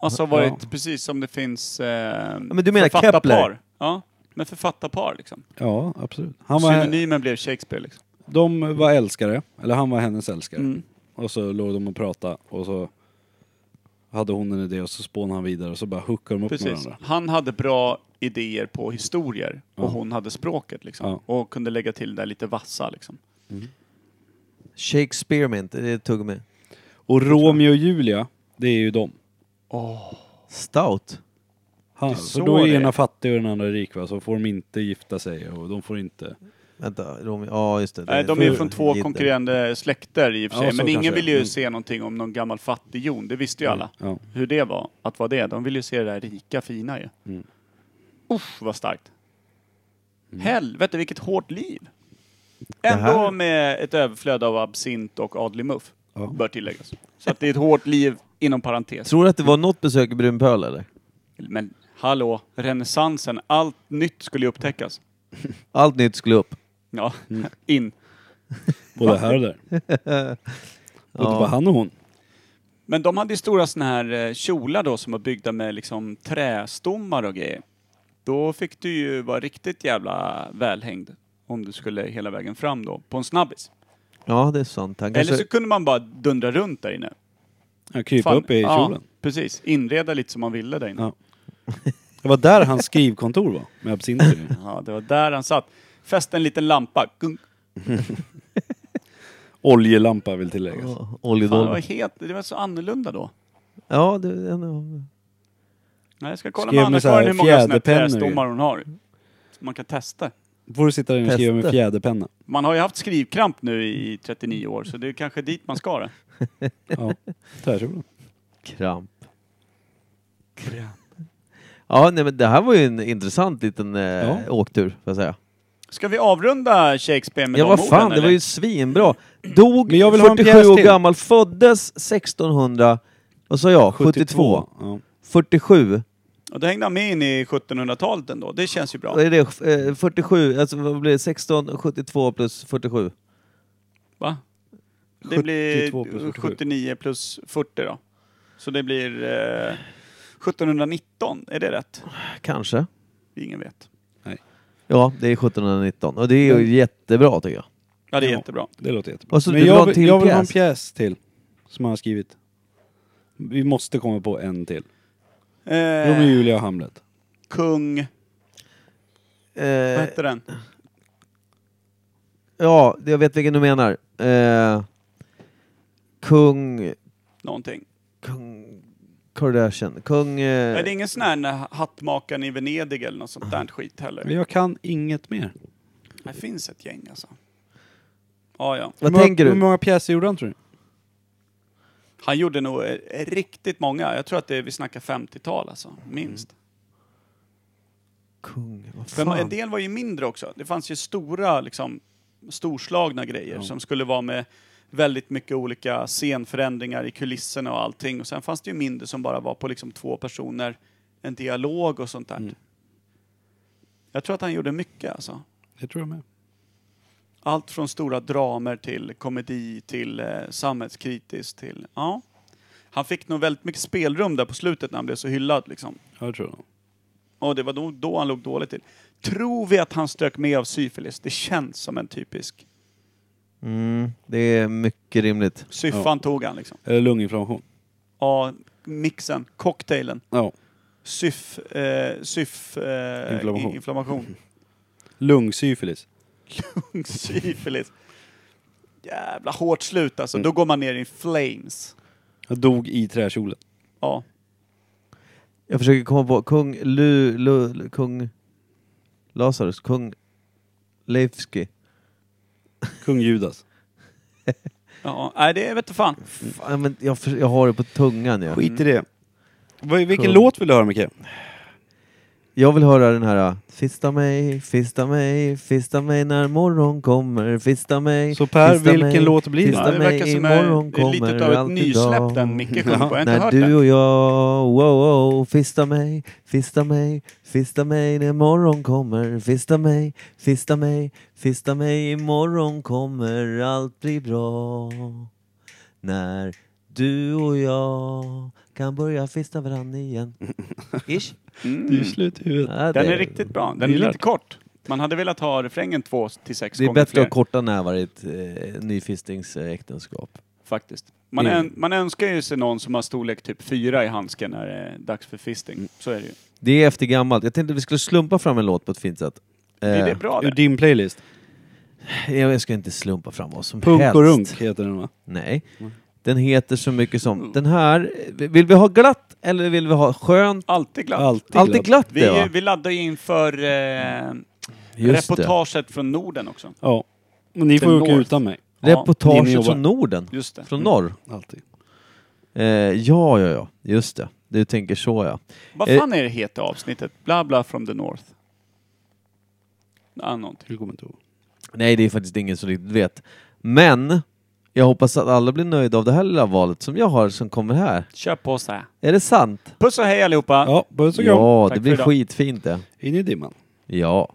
Speaker 3: Alltså varit
Speaker 4: Ja.
Speaker 3: precis som det finns eh,
Speaker 2: men du menar Kepler?
Speaker 3: Ja, men författarpar liksom.
Speaker 4: Ja, absolut. Han var,
Speaker 3: Synonymen blev Shakespeare liksom.
Speaker 4: de var älskare, eller han var hennes älskare.
Speaker 3: Mm.
Speaker 4: Och så låg de och pratade och så hade hon en idé och så spånade han vidare och så bara hookade de upp med
Speaker 3: Precis.
Speaker 4: varandra.
Speaker 3: Han hade bra idéer på historier och hon hade språket liksom. Och kunde lägga till det där lite vassa liksom.
Speaker 2: Shakespeare mint, det är tuggummi.
Speaker 4: Och Romeo och Julia, det är ju dem.
Speaker 2: Stout.
Speaker 4: Han,
Speaker 3: Det är så
Speaker 4: för då är
Speaker 3: det
Speaker 4: ena
Speaker 3: är.
Speaker 4: fattig och den andra rik va, så får de inte gifta sig och de får inte...
Speaker 2: Vänta, Romeo. Ja, just det. det
Speaker 3: Nej, de är ju
Speaker 2: för-
Speaker 3: från två
Speaker 2: Gitter.
Speaker 3: konkurrerande släkter i och för
Speaker 4: Ja,
Speaker 3: sig.
Speaker 4: så
Speaker 3: men
Speaker 4: kanske
Speaker 3: ingen
Speaker 4: det.
Speaker 3: ville ju
Speaker 4: Mm.
Speaker 3: se någonting om någon gammal fattighjon. Det visste ju alla.
Speaker 4: Ja.
Speaker 3: Hur det var, att vara det. De ville ju se det där rika, fina ju.
Speaker 4: Mm.
Speaker 3: Usch, vad starkt. Helvete, vilket hårt liv.
Speaker 2: här-
Speaker 3: Ändå med ett överflöd av absint och adlig muff.
Speaker 4: Ja.
Speaker 3: Bör tilläggas. Så att det är ett hårt liv, inom parentes.
Speaker 2: Tror du att det var något besök i Brunpöl eller?
Speaker 3: Men hallå, renässansen. Allt nytt skulle ju upptäckas.
Speaker 2: Allt nytt skulle upp.
Speaker 3: Ja,
Speaker 4: Mm.
Speaker 3: in.
Speaker 4: Både här och där. Både bara han och hon.
Speaker 3: Men de hade ju stora såna här eh, kjolar då som var byggda med liksom trästommar och grejer. Då fick du ju vara riktigt jävla välhängd om du skulle hela vägen fram då, på en snabbis.
Speaker 2: Ja, det är sant. Han
Speaker 3: Eller
Speaker 2: kanske...
Speaker 3: så kunde man bara dundra runt där inne.
Speaker 4: Han kryper
Speaker 3: Fan,
Speaker 4: Typ upp i kjolen.
Speaker 3: Ja, precis. Inreda lite som man ville där inne.
Speaker 4: Ja. Det var där hans skrivkontor var, med absinter i.
Speaker 3: Ja, det var där han satt. Fäste en liten lampa. Gung.
Speaker 4: Oljelampa vill tilläggas.
Speaker 2: Ja,
Speaker 3: Fan, det var
Speaker 2: Oljedolmar.
Speaker 3: helt... Det var så annorlunda då.
Speaker 2: Ja, det... det-
Speaker 3: Nej, jag ska kolla
Speaker 4: Skrev
Speaker 3: med
Speaker 4: med så här
Speaker 3: Anna-Karin hur många såna här
Speaker 4: fjäderpennor.
Speaker 3: trästommar hon har. Så man kan testa.
Speaker 4: Får du sitta där inne och skriva med
Speaker 2: Testa.
Speaker 4: fjäderpenna.
Speaker 3: Man har ju haft skrivkramp nu i 39 år, så det är kanske dit man ska. Då.
Speaker 4: Ja, tvärkjolen.
Speaker 2: Kramp. Ja, nej, men det här var ju en intressant liten eh,
Speaker 4: Ja.
Speaker 2: åktur, får jag säga.
Speaker 3: Ska vi avrunda Shakespeare med
Speaker 2: Ja,
Speaker 3: de
Speaker 2: vad fan,
Speaker 3: orden,
Speaker 2: det var ju
Speaker 3: eller?
Speaker 2: svinbra. Dog
Speaker 4: Men jag vill ha en
Speaker 2: 47
Speaker 4: pjäs
Speaker 2: år
Speaker 4: till.
Speaker 2: gammal, föddes 1600, vad sa jag, 72.
Speaker 4: Ja.
Speaker 2: 47.
Speaker 3: Och då hängde han med in i 1700-talet ändå. Det känns ju bra.
Speaker 2: Vad är det? Eh, 47, alltså vad blir det? 16, 72 plus 47.
Speaker 3: Va? Det blir
Speaker 4: 72 plus 47.
Speaker 3: 79 plus 40 då. Så det blir eh, 1719, är det rätt?
Speaker 2: Kanske.
Speaker 3: Ingen vet.
Speaker 2: Ja, det är 1719 och det är ju jättebra tycker jag.
Speaker 3: Ja, det är
Speaker 4: Ja.
Speaker 3: jättebra.
Speaker 4: Det låter jättebra.
Speaker 2: Och så du
Speaker 4: Men
Speaker 2: vill ha en
Speaker 4: jag, vill-
Speaker 2: till
Speaker 4: jag vill ha en
Speaker 2: pjäs?
Speaker 4: pjäs till. Som han har skrivit. Vi måste komma på en till.
Speaker 2: Äh.
Speaker 4: Romeo och
Speaker 3: Eh,
Speaker 4: Julia och Hamlet.
Speaker 3: kung, vad
Speaker 2: Eh,
Speaker 3: hette den?
Speaker 2: ja, jag vet vilken du menar. Eh, kung...
Speaker 3: Någonting.
Speaker 2: Kung... Kardashian. Kung... Eh,
Speaker 3: Nej, det är ingen sån här när hattmakaren i Venedig eller något sånt där skit
Speaker 4: Men
Speaker 3: heller.
Speaker 4: jag kan inget mer.
Speaker 3: Det finns ett gäng alltså. Ja, ja.
Speaker 2: Vad
Speaker 4: Hur många-
Speaker 2: tänker
Speaker 4: Hur
Speaker 2: du?
Speaker 4: många pjäser gjorde han tror du?
Speaker 3: Han gjorde nog eh, riktigt många. Jag tror att det är, vi snackar 50-tal alltså, minst.
Speaker 2: Kung... Vad
Speaker 3: För en
Speaker 2: fan?
Speaker 3: del var ju mindre också. Det fanns ju stora, liksom, storslagna grejer som skulle vara med väldigt mycket olika scenförändringar i kulisserna och allting. Och sen fanns det ju mindre som bara var på liksom två personer, en dialog och sånt där. Jag tror att han gjorde mycket alltså.
Speaker 4: Det tror jag med.
Speaker 3: Allt från stora dramer till komedi till eh, samhällskritiskt till, ja. Han fick nog väldigt mycket spelrum där på slutet när han blev så hyllad liksom.
Speaker 4: Ja, det tror jag. nog.
Speaker 3: Och det var då, då han låg dåligt till. Tror vi att han strök med av syfilis? Det känns som en typisk.
Speaker 2: Mm, det är mycket rimligt.
Speaker 3: Syffan tog han liksom.
Speaker 4: Eller lunginflammation.
Speaker 3: Ja, mixen, cocktailen,
Speaker 4: Ja.
Speaker 3: syf, eh, syf, eh, inflammation.
Speaker 4: Inflammation.
Speaker 3: inflammation.
Speaker 4: Lungsyfilis.
Speaker 3: syfilis. Jävla hårt slut alltså.
Speaker 2: Mm.
Speaker 3: Då går man ner i flames.
Speaker 4: Jag dog i träkjolen.
Speaker 3: Ja.
Speaker 2: Jag försöker komma på kung Lu... Lu kung... Lazarus. Kung... Leifski.
Speaker 4: Kung Judas.
Speaker 3: ja. Nej, det vet du fan.
Speaker 2: Fan, men jag, för, jag har det på tungan ja.
Speaker 4: Skit i det. Mm. Vad- Vilken
Speaker 2: Kung.
Speaker 4: låt vill du höra Micke?
Speaker 2: Jag vill höra den här... Fista mig, fista mig, fista mig när morgon kommer. Fista mig,
Speaker 4: Så Per,
Speaker 2: fista
Speaker 4: vilken
Speaker 2: mig,
Speaker 4: låt blir det?
Speaker 2: fista
Speaker 3: Ja, det
Speaker 2: mig,
Speaker 3: verkar som
Speaker 2: imorgon
Speaker 3: en, det är
Speaker 2: kommer
Speaker 3: lite av ett
Speaker 2: allt
Speaker 3: nysläpp
Speaker 2: idag.
Speaker 3: den Micke sjöng på. Jag har inte
Speaker 2: När
Speaker 3: hört
Speaker 2: du
Speaker 3: den.
Speaker 2: och jag, wow, wow, fista mig, fista mig, fista mig när morgon kommer. Fista mig, fista mig, fista mig, imorgon kommer allt bli bra. När du och jag kan börja fista varann igen. Ish?
Speaker 4: Det är ju slut i huvudet.
Speaker 2: Ja,
Speaker 3: Den är Mm. riktigt bra. Den är
Speaker 4: Gillar
Speaker 3: lite kort. Man hade velat ha refrängen två till sex
Speaker 2: Det är
Speaker 3: gånger
Speaker 2: bättre
Speaker 3: fler.
Speaker 2: att korta nävar i ett eh, nyfistingsäktenskap.
Speaker 3: faktiskt. Man,
Speaker 2: Det är-
Speaker 3: ön- man önskar ju sig någon som har storlek typ fyra i handsken när det är dags för fisting.
Speaker 2: Mm.
Speaker 3: Så är det ju.
Speaker 2: Det är efter gammalt. Jag tänkte att vi skulle slumpa fram en låt på ett fint sätt.
Speaker 3: Är det
Speaker 2: Eh,
Speaker 3: bra
Speaker 4: Ur
Speaker 3: det?
Speaker 4: din playlist.
Speaker 2: jag ska inte slumpa fram vad som
Speaker 4: Punk
Speaker 2: helst.
Speaker 4: och runk heter den va?
Speaker 2: Nej. Den heter så mycket som... Den här... Vill vi ha glatt eller vill vi ha skönt?
Speaker 3: Alltid glatt.
Speaker 4: Alltid,
Speaker 2: Alltid glatt
Speaker 3: Vi,
Speaker 2: det va?
Speaker 3: vi laddar ju inför eh,
Speaker 2: Just det.
Speaker 3: reportaget från Norden också.
Speaker 4: Ja. Men ni
Speaker 3: The
Speaker 4: får ju åka
Speaker 3: North.
Speaker 4: utan mig. Ja, ni
Speaker 2: Reportaget
Speaker 4: jobbar.
Speaker 2: från Norden.
Speaker 3: Just det.
Speaker 2: Från norr.
Speaker 4: Alltid.
Speaker 2: Eh, ja, ja, ja. Just det. Du tänker så ja.
Speaker 3: Vad
Speaker 2: Eh.
Speaker 3: fan är det heta avsnittet? Bla bla from the North. Ja, någonting.
Speaker 4: Jag kommer inte ihåg.
Speaker 2: Nej, det är faktiskt ingen som riktigt vet. Men jag hoppas att alla blir nöjda av det här lilla valet som jag har som kommer här.
Speaker 3: Kör på så här.
Speaker 2: Är det sant?
Speaker 3: Puss och hej allihopa!
Speaker 4: Ja, puss och kram.
Speaker 2: Ja,
Speaker 3: Tack
Speaker 2: det
Speaker 3: för
Speaker 2: blir
Speaker 3: idag.
Speaker 2: skitfint det.
Speaker 4: In i dimman.
Speaker 2: Ja.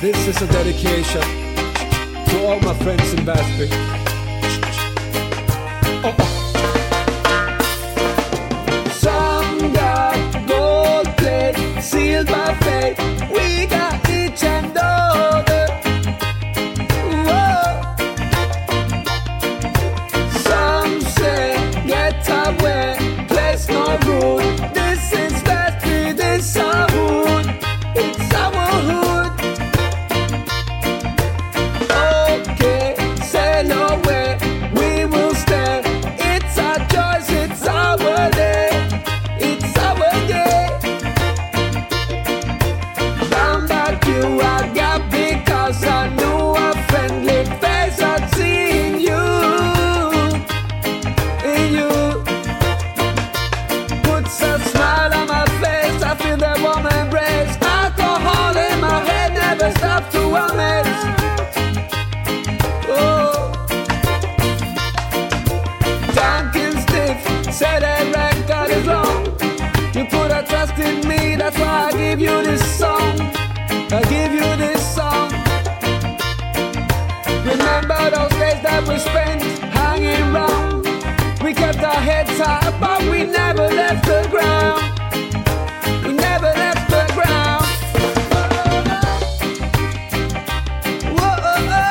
Speaker 7: This is a dedication to all my friends in Väsby. Sandar, gold plate, silver plate, we got each and other. Whoa. Some say get away, place no rule. This is Väsby, this our hood. It's our hood. Okay, sail away. Oh. ground. We never left the ground. We never left the ground.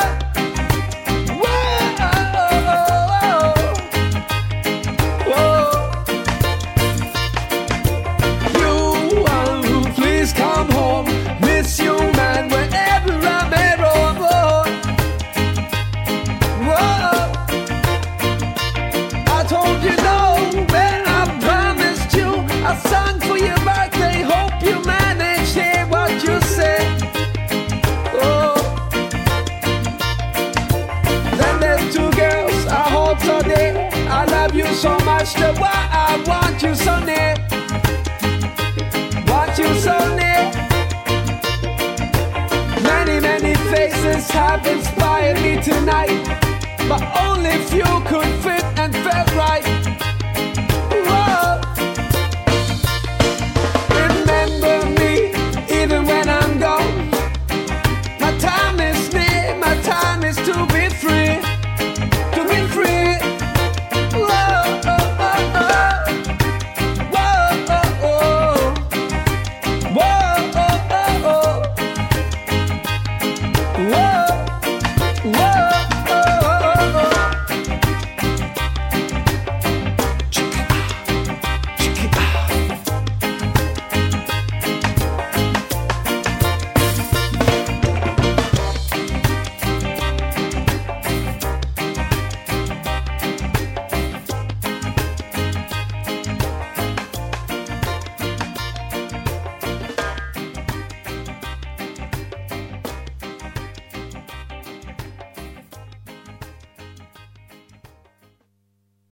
Speaker 7: Whoa, whoa, whoa. You one, please come home. Miss you, man, wherever I'm at or born. Whoa. I told you no, man, I promised you. I sung for your birthday. Hope you manage hear what you said. Oh. Then there's two girls, I hope so dear. I love you so much, that why I want you so near. Want you so near. Many, many faces have inspired me tonight, but only few could fit and felt right.